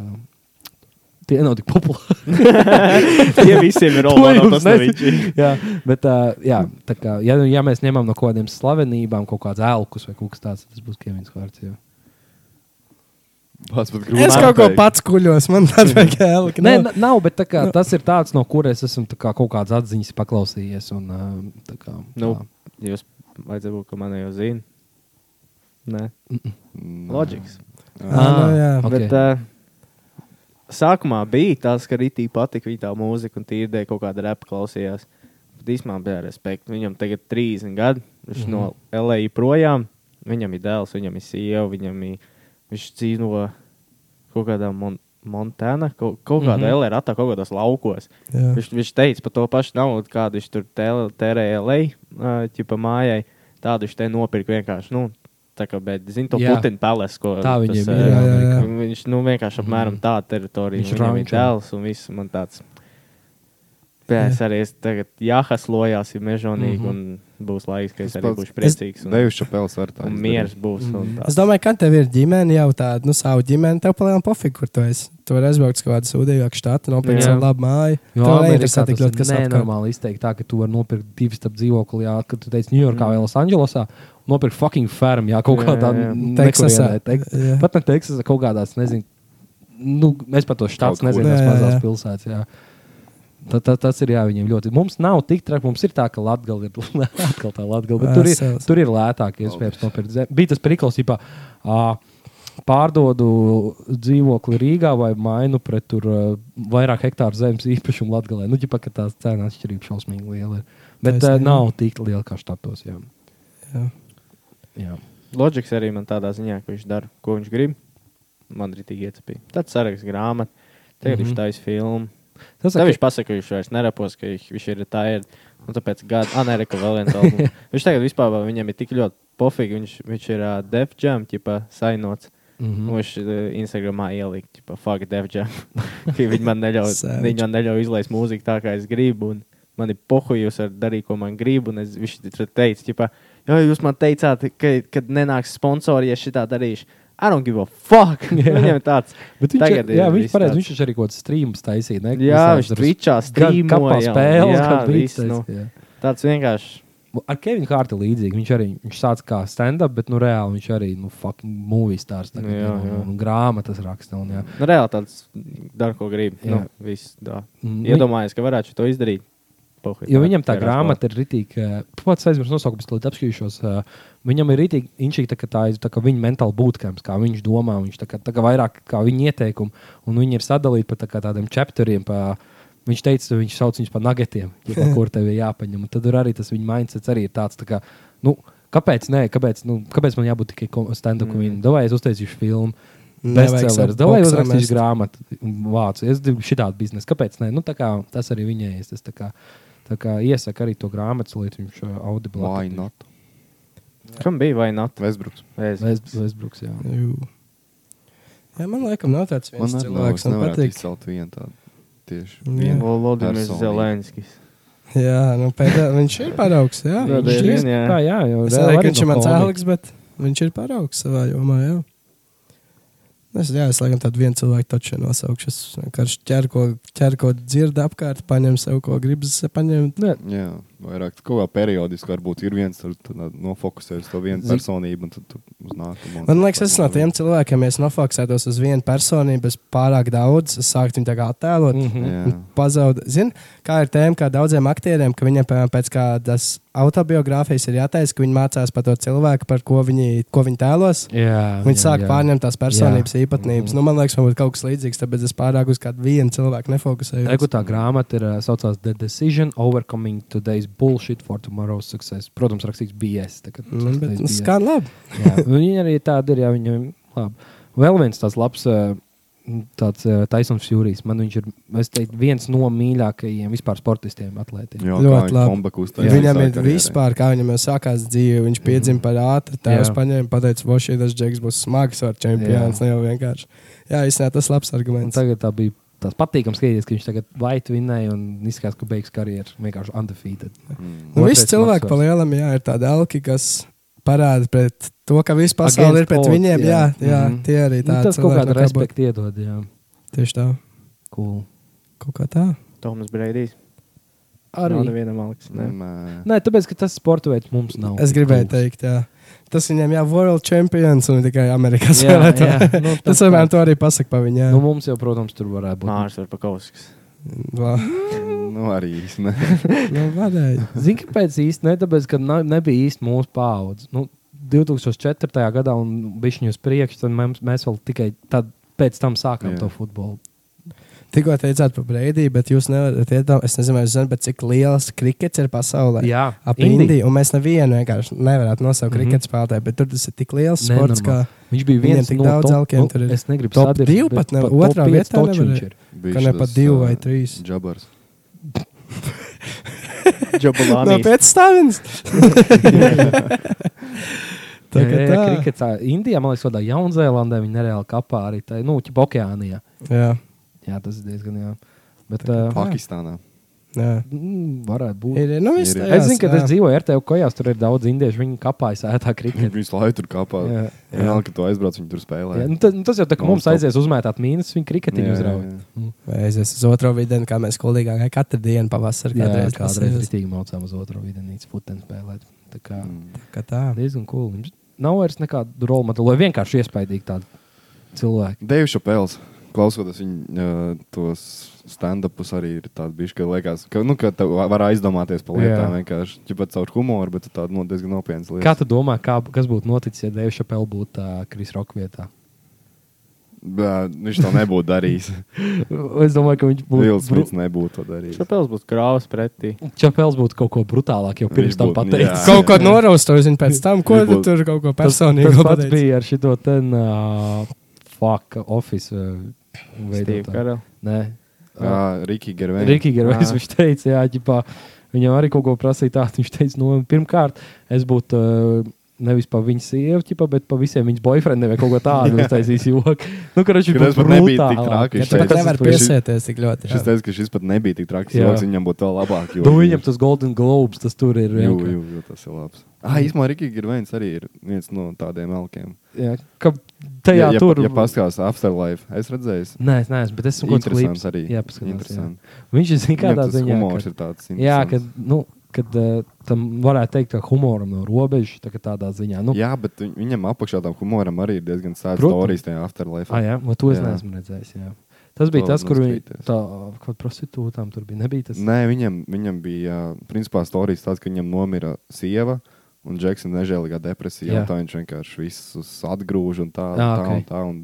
I: tie nav tik populāri.
B: Tie visiem ir
I: To
B: Olanda,
I: jums
B: tas nav
I: nezinu.
B: viņš.
I: jā, bet uh, jā, tā kā, ja, nu- ja mēs ņemam no kaut kādiem slavenībām kaut kādas elkus vai kaut kas tāds, tad tas būs Kevins Hārts. Jā.
D: Pats pat grūti.
A: Es kaut ko
D: pateikt.
A: pats kuļos, man tāds vajag elka.
I: Nē, na- nav, bet tā kā,
B: Nu-
I: tas ir tāds, no kuras esmu tā kā, kaut kādas atziņas paklausījies. Un, uh, tā kā,
B: Nu,
I: tā.
B: jūs vajadzētu būt, ka man jau zina. Nē, loģiski.
A: nu jā.
I: ok.
B: Bet, uh, sākumā bija tas, ka Rītī patika viņa tā mūzika, un tīri dēļ kaut kāda repa klausījās. Bet īstenībā bija respekts. Viņam tagad ir 30 gadi, viņš mm -hmm. no LA projām. Viņam ir dēls, viņam ir sieva, viņam ir, viņš dzīvo kaut kādā Mon Montānā, kaut, kaut kādā mm -hmm. LA ratā, kaut kādos laukos.
A: Jā.
B: Viņš, viņš teica par to pašu naudu, kādu viņš tur tēl- tērēja LA, ķipa mājai. Tādu viņš te nopirka vienkārši. Nu, tā kā, bet, zini, to
I: Jā.
B: Putina pelēs, ko
I: Tā viņiem ir,
B: eh,
A: jā, jā, jā.
B: Viņš nu, vienkārši apmēram tāda teritorija.
I: Viņš
B: Viņš viņam ir
I: rančo.
B: dēls un viss man tāds. Jā, es arī es tagad jāhaslojās, ir mežonīgi, mm -hmm. un būs laiks, ka es, es arī
D: pats-
B: būšu priecīgs. Un,
D: Deivs Čapels var tā.
B: un
D: izdarīt.
B: miers būs. Un
A: Es
B: tā.
A: domāju, ka tev ir ģimene jau tāda, nu, savu ģimeni. Tev palielinās pofīgi, kur tu esi. Tu vari aizbraukt uz kādu sūdīgāku štatu, nopirkt
B: Jā.
A: savu labu māju.
I: Jo
A: Tev
I: Amerikā
A: neinteresē
I: tas
A: Nu, tik ļoti,
I: ir
A: kas apkārt.
I: nenormāli izteikti tā, ka tu vari nopirkt divus stūra dzīvokli, jā, kad tu teici Ņujorkā vai Losandželosā. Nopirkt fucking fermu, jā, kaut
B: Mm. Jā,
I: kādā
B: jā, jā.
A: Teksasā.
I: Teksasā.
A: Jā.
I: Pat ne Teksasā, kaut kādās, nezinu, nu, es pat tos
D: Kaut
I: štāts
D: kur.
I: nezinu,
A: Jā,
I: tās
A: jā,
I: mazās
A: jā.
I: pilsētas, jā. Ta, ta, tas ir jā, viņiem ļoti. Mums nav tik traki. Mums ir tā, ka Latvija ir atkal tā Latvija. Bet tur ir,
A: Vesels.
I: tur ir lētāk, iespējams, nopirkt zemi. Bija tas priklis, ja pārdodu dzīvokli Rīgā vai mainu pret tur ā, vairāk hektāru zemes īpašumu Latvijā. Nu, ģipa, ka tās cenas atšķirība šausmīgi liela ir. Bet uh,
A: Taisnība.
I: nav tik liela kā štatos. Jā.
A: Jā.
I: Jā.
B: Loģiks arī man tādā ziņā, ka viņš dara, ko viņš grib. Man ir tik iecipīgi. Tad saraksts grāmatu, tagad mm -hmm. viņš taisa filmu.
I: Tas
B: Tad
I: ir
B: viņš pasaka, ka viņš vairs nerapos, ka viņš, viņš ir tā ir. Un tāpēc gada Amerika vēl viens albums. Viņš tagad vispār vēl- viņam ir tik ļoti pofīgi. Viņš, viņš ir uh, Def Jam, tipā sainots. Mm
I: Mhm.
B: -hmm. Viņš uh, Instagramā ielika, tipā fuck Def Jam. Ka viņi man neļauj,
A: Savage.
B: viņi man neļauj izlaist mūziku tā, kā es gribu. Un man ir pohu, jūs varat darīt, ko man gribu. Un es, viņš tur teica, tipā, jo jūs man teicāt, ka, kad nenāks sponsori, ja šitā darīšu. I don't give a fuck. Viņam ir tāds.
I: Bet viņš
B: tagad
I: ir, jā,
B: ir
I: viņš
B: viss
I: pareizi,
B: tāds.
I: viņš taču arī kaut kāds streams taisīja. Ne?
B: Jā,
I: Visādas
B: viņš
I: tur
B: Twitchā
I: ga-
B: streamoja,
I: kapā
B: jā,
I: spēles,
B: jā,
I: kad bija
B: viss,
I: tas.
B: nu.
I: jā.
B: Tāds vienkārši.
I: Ar Kevinu Hārtu līdzīgi. Viņš arī viņš sāca kā stand-up, bet nu, reāli viņš arī nu, fucking movie stars. Tagad,
B: Nu Jā,
I: un,
B: jā.
I: un grāmatas raksta. Un, jā.
B: Nu, reāli tāds dara, ko grib.
I: Jā.
B: Nu, viss, tā.
I: Mm,
B: Iedomājos, ka varētu to izdarīt. Puhi,
I: Jo viņam tā grāmata ir rītīga, pats aizmirsu nosaukumus, līdz apskatīšos. ā, Viņam ir rītīgi, viņš ir tā kā tā, ir tā kā viņa mentāla būtkrams, kā viņš domā, viņš tā kā, tā kā vairāk kā viņa ieteikumi, un viņi ir sadalīti pa tā kā tādiem chapteriem. Pa, viņš teica, viņš sauc viņus par nagetiem, ķipā, kur tev ir jāpaņem. Un tad tur arī tas viņa mindsets arī ir tāds, tā kā, nu, kāpēc, nē, kāpēc, nu, kāpēc man jābūt tikai kom- stand-up komēdijam? Mm. Davai es uztaisīšu filmu.
A: Nevajag
I: Bestselleris,
A: sākt
I: davai
A: boksā
I: uzrakstīšu
A: mest.
I: grāmatu, vācu. Es gribu šitādu biznesu, kāpēc ne? Nu, tā kā, tas arī viņai ir. Tas tā kā, tā kā iesaka arī to grāmatu, lai viņš uh, audiblā.
D: Why not?
B: Kam bija vai nē?
D: Vesbruks.
I: Vēsbruks, jā.
A: Jū. Jā, man liekas, nav tāds
D: Man
A: viens
D: arī nav, es
A: cilvēks, kas man
D: nevarētu
A: patīk.
D: izcelt vienu tādu. Tieši.
A: Jā.
D: vienu
B: Volodimirs
D: personību.
B: Zelenskis.
A: Jā, nu, pēdējā, viņš ir paraugs. Jā,
B: Jā,
A: viņš
B: jā,
A: ir.
B: jā.
I: Jā, tā, jā, jau
A: Es
I: reāli
A: domāju,
I: Nu, arī
A: ka viņš
I: no
A: ir mans
I: komika.
A: ēlīgs, bet viņš ir paraugs savā jomā. Jā. Nu, Es, jā, es laikam tādu vienu cilvēku taču nosaukšu. Es vienkārši ķeru, ko, ķeru, ko dzirdu apkārt, paņemu sev, ko gribas paņemt. Nu,
I: Nē,
D: Jā, vairāk tā kā periodiski varbūt ir viens, tad tu nā- nofokusējies uz to vienu
I: Zin-
D: personību, un tad tu uz nākamo.
A: Man liekas, es no tiem cilvēkiem, ja es nofokusētos uz vienu personību, es pārāk daudz es sāktu viņu tā kā attēlot.
D: Mhm.
A: Mm.
D: Jā,
A: Pazaudēt, zini, kā ir tēma, kā daudziem aktieriem, ka viņiem, piemēram, pēc kādas autobiogrāfijas ir jātaisa, ka viņi mācās par to cilvēku, par ko viņi, ko viņi tēlos.
I: jā,
A: Viņi
I: jā,
A: sāk
I: jā.
A: pārņemt tās personības jā.
I: Mhm.
A: īpatnības. Nu, man liekas, man būtu kaut kas līdzīgs, tāpēc es pārāk uz kādu vienu cilvēku
I: Ego
A: nefokusēju.
I: tā grāmata ir, uh, saucās The Decision Overcoming Today's Bullshit for Tomorrow's Success. Protams, rakstīts BS. tā kā
A: Nu, bet,
I: today's
A: nu,
I: BS.
A: Skan labi.
I: Jā, Viņa arī tāda ir. Jā, viņa, labi. Vēl viens tāds labs, eh, tāds Taisons Fjūrijs. Man viņš ir es teiktu, viens no mīļākajiem vispār sportistiem, atlētiem.
D: jā
A: Ļoti
D: ļoti
A: labi.
D: labi.
A: Jā, viņam ir vispār, kā viņam jau sākās dzīve. Viņš piedzima par ātru, tēvs
I: Mhm. Jā.
A: paņēma, pateica, ka šī tas džeks būs smags ar čempions. Jā, jau vienkārši. Jā, īstenībā tas labs
I: Un
A: arguments.
I: Tagad tā bija tāds patīkams skatīties, ka viņš tagad vaitu vinnēja un izskatās, ka beigs karjeru vienkārši undefeated.
D: Mm.
A: Nu, visi
I: Otrais
A: cilvēki
I: maksvars.
A: pa lielam, jā, ir tādi elki, kas parāda pret to, ka visa
I: Against
A: pasaule ir pret
I: odds,
A: viņiem. Jā,
I: jā.
A: jā
I: Mhm.
A: tie arī
I: Nu,
A: tādi.
I: tas kaut
A: cilvēki,
I: kādu
A: no kā būtu.
I: respektu iedod. Jā.
A: Tieši tā.
I: Cool.
A: Kaut kā tā.
B: Toms Breidijs. Nav
I: Arī.
B: nevienam Aleks. Ne.
D: Nē,
I: Nē, tāpēc, ka tas sporta veids mums nav.
A: Es
I: tik
A: gribēju
I: tuvs.
A: teikt, jā. tas viņam jau ir World Champions un tikai Amerikas
I: Jā,
A: spēlētājs.
I: jā, nu,
A: Tas
I: tā-
A: vienmēr to arī pasaka par viņu. jā.
I: Nu, mums jau, protams, tur varētu būt.
B: Mārs Verpakausks.
A: Vā,
D: nu arī īsti. ne.
A: Nu, varēja.
I: Zini, kāpēc īsti ne? Tāpēc, ka na- nebija īsti mūsu paudze. Nu, 2004. gadā un bija viņa uz priekšu, tad mēs, mēs vēl tikai tad, pēc tam sākām
D: Jā.
I: to futbolu.
A: Tikko teicāt par Brīdiju, bet jūs nevarat iedomāties, es nezinu, vai jūs zināt, bet cik liels krikets ir pasaulē.
I: Jā,
A: ap
I: Indija. Mhm.
A: Indiju. Un mēs nevienu vienkārši nevaram nosaukt mm -hmm. krikets spēlētāju, bet tur tas ir tik liels sports,
I: Nenormāli.
A: ka,
I: Viņš bija
A: Viņiem
I: viens
A: tik
I: no
A: daudz
I: top-
A: elkiem
I: nu,
A: tur ir.
I: Es negribu
A: Top
I: sadirst,
A: divi
I: bet
A: pat ne-
I: top
A: otrā
I: pieci
A: vietā
I: točiņš
A: nevarēja.
I: ir.
A: ka ne pat divi vai trīs.
D: Džabars.
A: No
B: Džabalānis.
A: pēcstāvienas. Tā kā
I: Jā, jā,
A: tā.
I: kriketā. Indijā, man liekas, tādā Jaunzēlandē viņi nereāli kapā arī tajā, nu, ķip okeānijā.
A: Jā,
I: Jā, tas ir diezgan jā. Bet, uh,
D: Pakistānā.
A: jā.
I: mm, varētu būt.
A: Ir, nu, viss
D: Ir, ir.
A: tajās,
I: es zinu, ka
A: jā.
I: es dzīvoju ar tevi kojās, tur ir daudz indiešu, viņi kapājas ētā kriketā.
D: Viņus laiku tur kāpā. Jā,
I: Jā.
D: jā. kad tu aizbrauc, viņi tur spēlē.
I: Jā, nu, tas, nu, tas jau tā kā mums
D: Non-stop.
I: aizies uzmētāt mīnus, viņa kriketiņu uzrauga.
A: Vai aizies uz otro vidienu, kā mēs kolīgā gājām katru dienu pavasarī.
I: Jā,
A: Kādreiz,
I: kādreiz
A: kādreiz.
I: rītīgi mācām uz otru vidienīcu futeni spēlēt. Tā kā
D: Mm.
A: Kā tā.
I: diezgan cool. Viņš nav vairs nekāda rolu modela, vienkārši iespaidīgi tādi cilvēki.
D: Deivs Šapels. Klausoties viņa uh, tos stand-upus, arī ir tāds bijis, ka liekas, ka, nu, ka tev va- var aizdomāties par
I: Jā.
D: lietām. Vienkārši ķipat caur humoru, bet tu tādu no, diezgan nopietnu lietu.
I: Kā tu domā, kā, kas būtu noticis, ja Deivs Šapels būtu uh, Kris Roka vietā?
D: Bā, viņš to nebūtu darījis.
I: Es domāju, ka viņš
D: Vils
I: būtu
D: Smits nebūtu to darījis.
B: Šapels būs krāvas pretī.
I: Čepels būtu kaut ko brutālāk jau pirms
D: Viņš
I: tam
D: būtu,
I: pateicis.
D: jā.
A: Kaut ko noraustu, zinu, pēc tam, ko tu
D: Varbūt-
A: tur kaut ko
I: Tas,
A: personīgi
I: tas pats
A: pateici.
I: bija ar šo ten uh, fuck office uh,
B: Steve
I: veidotāju.
B: Carell.
I: Nē,
D: Jā, Rikī Gervēns.
I: Rikī Gervais
B: Ā.
I: viņš teica, jā, ģipā, viņam arī kaut ko prasīja tādu. Viņš teica, no pirmkārt, es būtu uh, nevis pa viņas sievu, ģipā, bet pa visiem viņas boyfriendiem vai kaut ko tādu. Viņš taisīs joku. Nu, karoči,
D: Ka tas pat nebija tik traki,
A: Ja
D: viņš
A: tu pat
D: teica,
A: nevar
D: tas ir-
A: piesieties tik ļoti.
D: Šis
A: jā.
D: teica, ka šis pat nebija tik traks.
I: Jā.
D: Joks, viņam būtu vēl labāk.
I: Nu, viņam tas Golden Globes, tas tur ir.
D: ir. Jū,
I: vienkārši.
D: jū, jū, tas ir labs. Ah, īstenībā Rikī Gervēns arī ir viens no tādiem elkiem.
I: Jā, ka tajā
D: ja, ja,
I: tur.
D: Ja paskatās Afterlife, es redzēju.
I: Nē, es neesmu, bet esmu kaut kāds
D: Interesants
I: klips.
D: arī.
I: Jā, paskatās. Jā.
D: Interesants.
I: Viņš ir zina, kādā
D: Viņam tas
I: ziņā.
D: humors
I: ka-
D: ir tāds.
I: jā,
D: interesants.
I: kad, nu, kad uh, tam varētu teikt, ka humoram no robežas tā, kā tādā ziņā. Nu,
D: Jā, bet viņ- viņam apakšā tam humoram arī ir diezgan sāpīgs
I: Protams.
D: stāstījums tajā afterlife.
I: ah, jā, no to es
D: Jā.
I: neesmu redzējis. Jā. Tas bija
D: To
I: tas, kur viņi
D: noskatīties.
I: tā kā prostitūtām tur bija. Nebija tas
D: Nē, viņam, viņam bija principā stāstījums tāds, ka viņam nomira sieva. Un Džeksons nežēlīgā depresijā.
I: Jā.
D: un Tā viņš vienkārši visus atgrūž un tā,
I: Ah,
D: tā,
I: okay.
D: un tā. Un,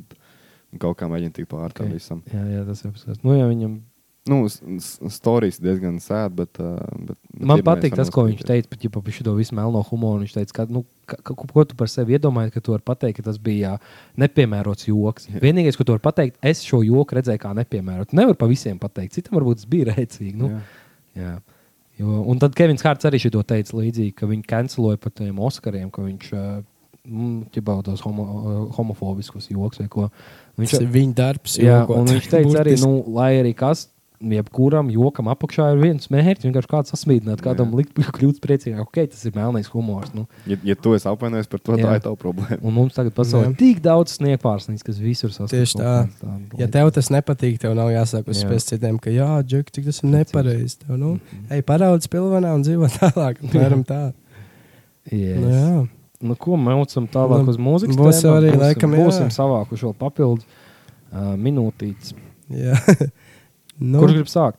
D: un kaut kā mēģina tikt pāri tam
I: Ok.
D: visam.
I: Jā, jā, tas ir apskats. Nu, jā, viņam...
D: Nu, stāstījums diezgan sēd, bet, uh, bet, bet
I: Man
D: ir
I: patīk
D: mēs
I: tas, ko
D: varam
I: viņš
D: skatīties.
I: teica par ģipa, šo visu melno humoru. Viņš teica, ka, nu, ka, ka, ko tu par sevi iedomājies, ka tu vari pateikt, ka tas bija jā, nepiemērots joks. Jā. Vienīgais, ko tu vari pateikt, es šo joku redzēju kā nepiemērotu. Tu Nevar pa visiem pateikt, citam varbūt tas bija rēcīgi. Nu,
D: Jā.
I: Jā. Jo, un tad Kevins Hārts arī šito teica līdzīgi, ka viņi kanceloja par tiem Oskariem, ka viņš ķibā tos homo, eh, homofobiskus joks vai ko. Viņš,
A: Tas ir viņa darbs.
I: jā,
A: jokot.
I: un viņš teica arī,
A: Burtiski.
I: nu, lai arī kas, jebkuram jokam apakšā ir viens mērķis, vienkārši kāds sasmīdināt, kādam likt kļūt priecīgāk. Ok, tas ir melnīgs humors. Nu.
D: Ja, ja tu esi apvainojis par to,
I: Jā.
D: tā ir tava problēma.
I: Un mums tagad pasaulē ir tik daudz sniegpārsnīs, kas visur sasniedz.
A: Tieši tā. Ja tev tas nepatīk, tev nav jāsāk
I: Jā.
A: uzspiest citiem, ka, jā, Džek, cik tas ir nepareizi. Tev, nu,
I: Mhm.
A: ej, paraudzies pilvenā un dzīvo tālāk. Mēram tā.
I: Yes.
A: Nu, jā.
I: Nu, ko mūcam tālāk
A: Nu,
I: uz mūzikas?
A: būs
I: tēmām?
A: arī
I: būsim,
A: laikam, jā.
I: būsim savākuši vēl papildus uh, minūtītes.
A: jā. nu,
I: Nu. Kurš grib sākt?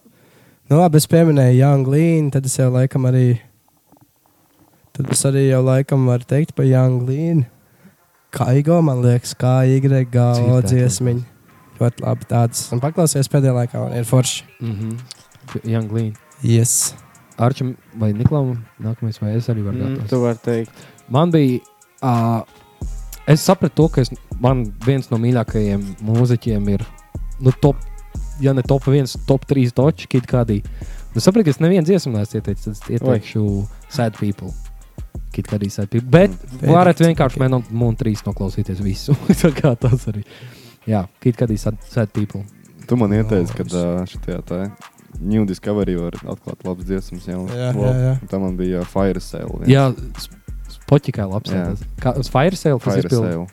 A: nu, labi, es pieminēju Jānu Līnu, tad es jau laikam arī. Tad es arī jau laikam varu teikt par Jānu Līnu. Kaigo, man liekas, kā YGO
I: Dzirdēt,
A: dziesmiņa. Ļoti labi tāds. Un paklausies pēdējā laikā, un ir forši.
I: Mm -hmm. Janglīna.
A: Yes.
I: Arčam vai Niklausam, nākamais vai es arī varu
B: Mm,
I: gatavot.
B: tu vari teikt.
I: Man bija. Uh, es sapratu, to, ka es, man viens no mīļākajiem mūziķiem ir. Nu, top, ja ne top 1, top 3 toči, kā kādī. Es sapratu, Nu, ka es nevienu dziesmu neesmu ieteicis. Tad es ieteikšu Sad People. Kit kā arī Sad People. Bet
D: Mm,
A: Pēdējais,
I: varat vienkārši
A: ok.
I: okay. man un trīs noklausīties visu. Tā kā tas arī. Jā, kit kā arī Sad, sad People.
D: Tu man ieteici, ka
A: es-
D: uh, šajā tā New Discovery var atklāt labas dziesmas. jaunas.
A: Jā, jā, jā.
D: Un Tā man bija Fire Sale. viens.
I: Jā, Spotify labs.
D: Jā.
I: tas. Kā uz Fire Sale tas
D: Fire
I: izpildīts.
D: Sale.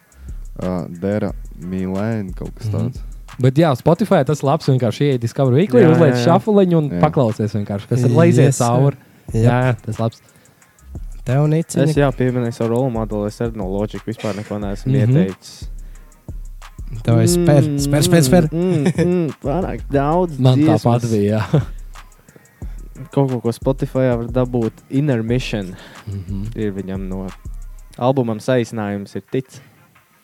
D: Uh, Dera Milēna kaut kas
I: Mhm.
D: tāds.
I: Bet jā, Spotify tas labs vienkārši ieiet Discovery Weekly,
B: Jā, jā,
I: uzliek
B: jā.
I: šafuliņu un jā.
D: Jā.
I: paklausies vienkārši, kas ir laizies
A: Yes,
I: yes, cauri. Jā,
A: Jā,
I: jā, tas labs.
A: tev
B: Es
A: nicini.
B: jā, pieminēju savu rolu modeli. Es arī no Logic vispār neko neesmu
I: Mhm.
B: ieteicis.
A: Tev ir spēr,
B: Mm,
A: spēr, spēr, spēr.
B: mm, mm, Pārāk daudz.
I: Man
B: dziesmas.
I: tāpat bija. jā.
B: Kaut ko, ko Spotify var dabūt. Intermission
I: Mhm.
B: ir viņam no Albumam saīsinājums ir tic.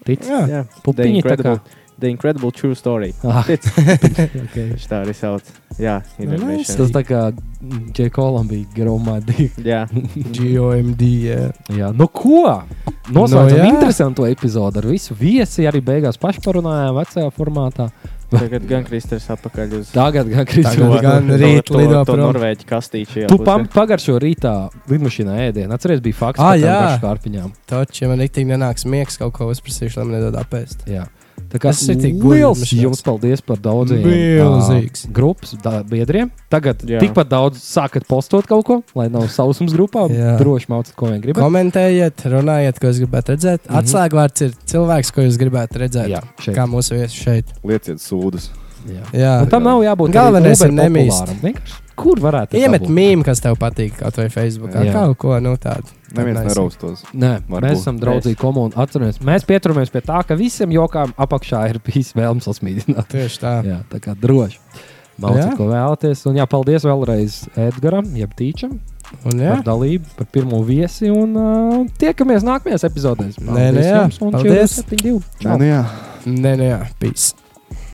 I: Tic?
A: Jā.
B: Jā, The
I: Pupiņi tā kā.
B: Incredible, The Incredible True Story.
I: Ah.
B: Tic.
I: Okay.
B: Viņš tā arī sauc. Jā,
A: nice.
I: Tas
B: Intermission.
I: tā kā Džekolam bija gromādīgi.
B: Jā,
A: GOMD. jā.
I: Jā, nu ko?
A: Nu,
I: Noslēdzam no,
A: jā.
I: interesantu epizodu ar visu viesi. Arī beigās pašparunājām vecajā formātā.
B: tagad gan Kristers apakaļ uz
I: Tagad gan
A: Tagad
I: Kristīna.
A: gan rīt
B: to,
A: lido
B: to
A: prom.
B: norvēģi kastīšu.
I: Tu pam- pagaršo rītā lidmašīnā ēdienu. Atceries, bija fakts
A: Ah,
I: par tām
A: jā.
I: garškārpiņām.
A: Taču, ja man tik nenāks miegs, kaut ko uzprasīšu, lai man nedod apēst.
I: Jā. Tā kā
A: Tas ir tik
I: liels
A: guļamšanas.
I: jums paldies par daudziem
A: Milzīgs.
I: ā, grupas da- biedriem. Tagad
B: Jā.
I: jā. tikpat daudz sākat postot kaut ko, lai nav sausums grupā.
A: Jā.
I: Droši mācīt, ko vien gribat.
A: Komentējiet, runājiet, ko jūs gribētu redzēt.
I: Mhm.
A: Atslēgvārds ir cilvēks, ko jūs gribētu redzēt.
I: Jā, šeit.
A: Kā mūsu viesis šeit.
D: Lieciet sūdus.
I: Jā.
A: Jā.
I: Un tam nav jābūt
A: Galvenais ir
I: arī uber
A: nemīst.
I: populāram. Vienkārši, Kur varētu
A: Iemet mīmīmu, kas tev patīk, kaut vai Facebook.
I: Jā.
A: Kaut ko nu, tādu.
D: Neviens
A: Nice.
D: neraustos.
I: Nē,
D: Varbūt.
I: mēs esam draudzīgi komuni. Atceramies, mēs pieturamies pie tā, ka visiem jokām apakšā ir bijis vēlms sasmīdināt.
A: Tieši tā.
I: Jā, tā kā droši. Mācīt,
A: Jā.
I: ko vēlaties. Un jā, paldies vēlreiz Edgaram, jeb Tīčam
A: Un, jā.
I: par dalību, par pirmo viesi. Un uh, tiekamies nākamajās epizodēs.
A: Nē, nē, jā.
I: jums, un
A: Paldies.
I: čau!
D: Nē, nu jā.
A: Nē, nē, jā. Peace.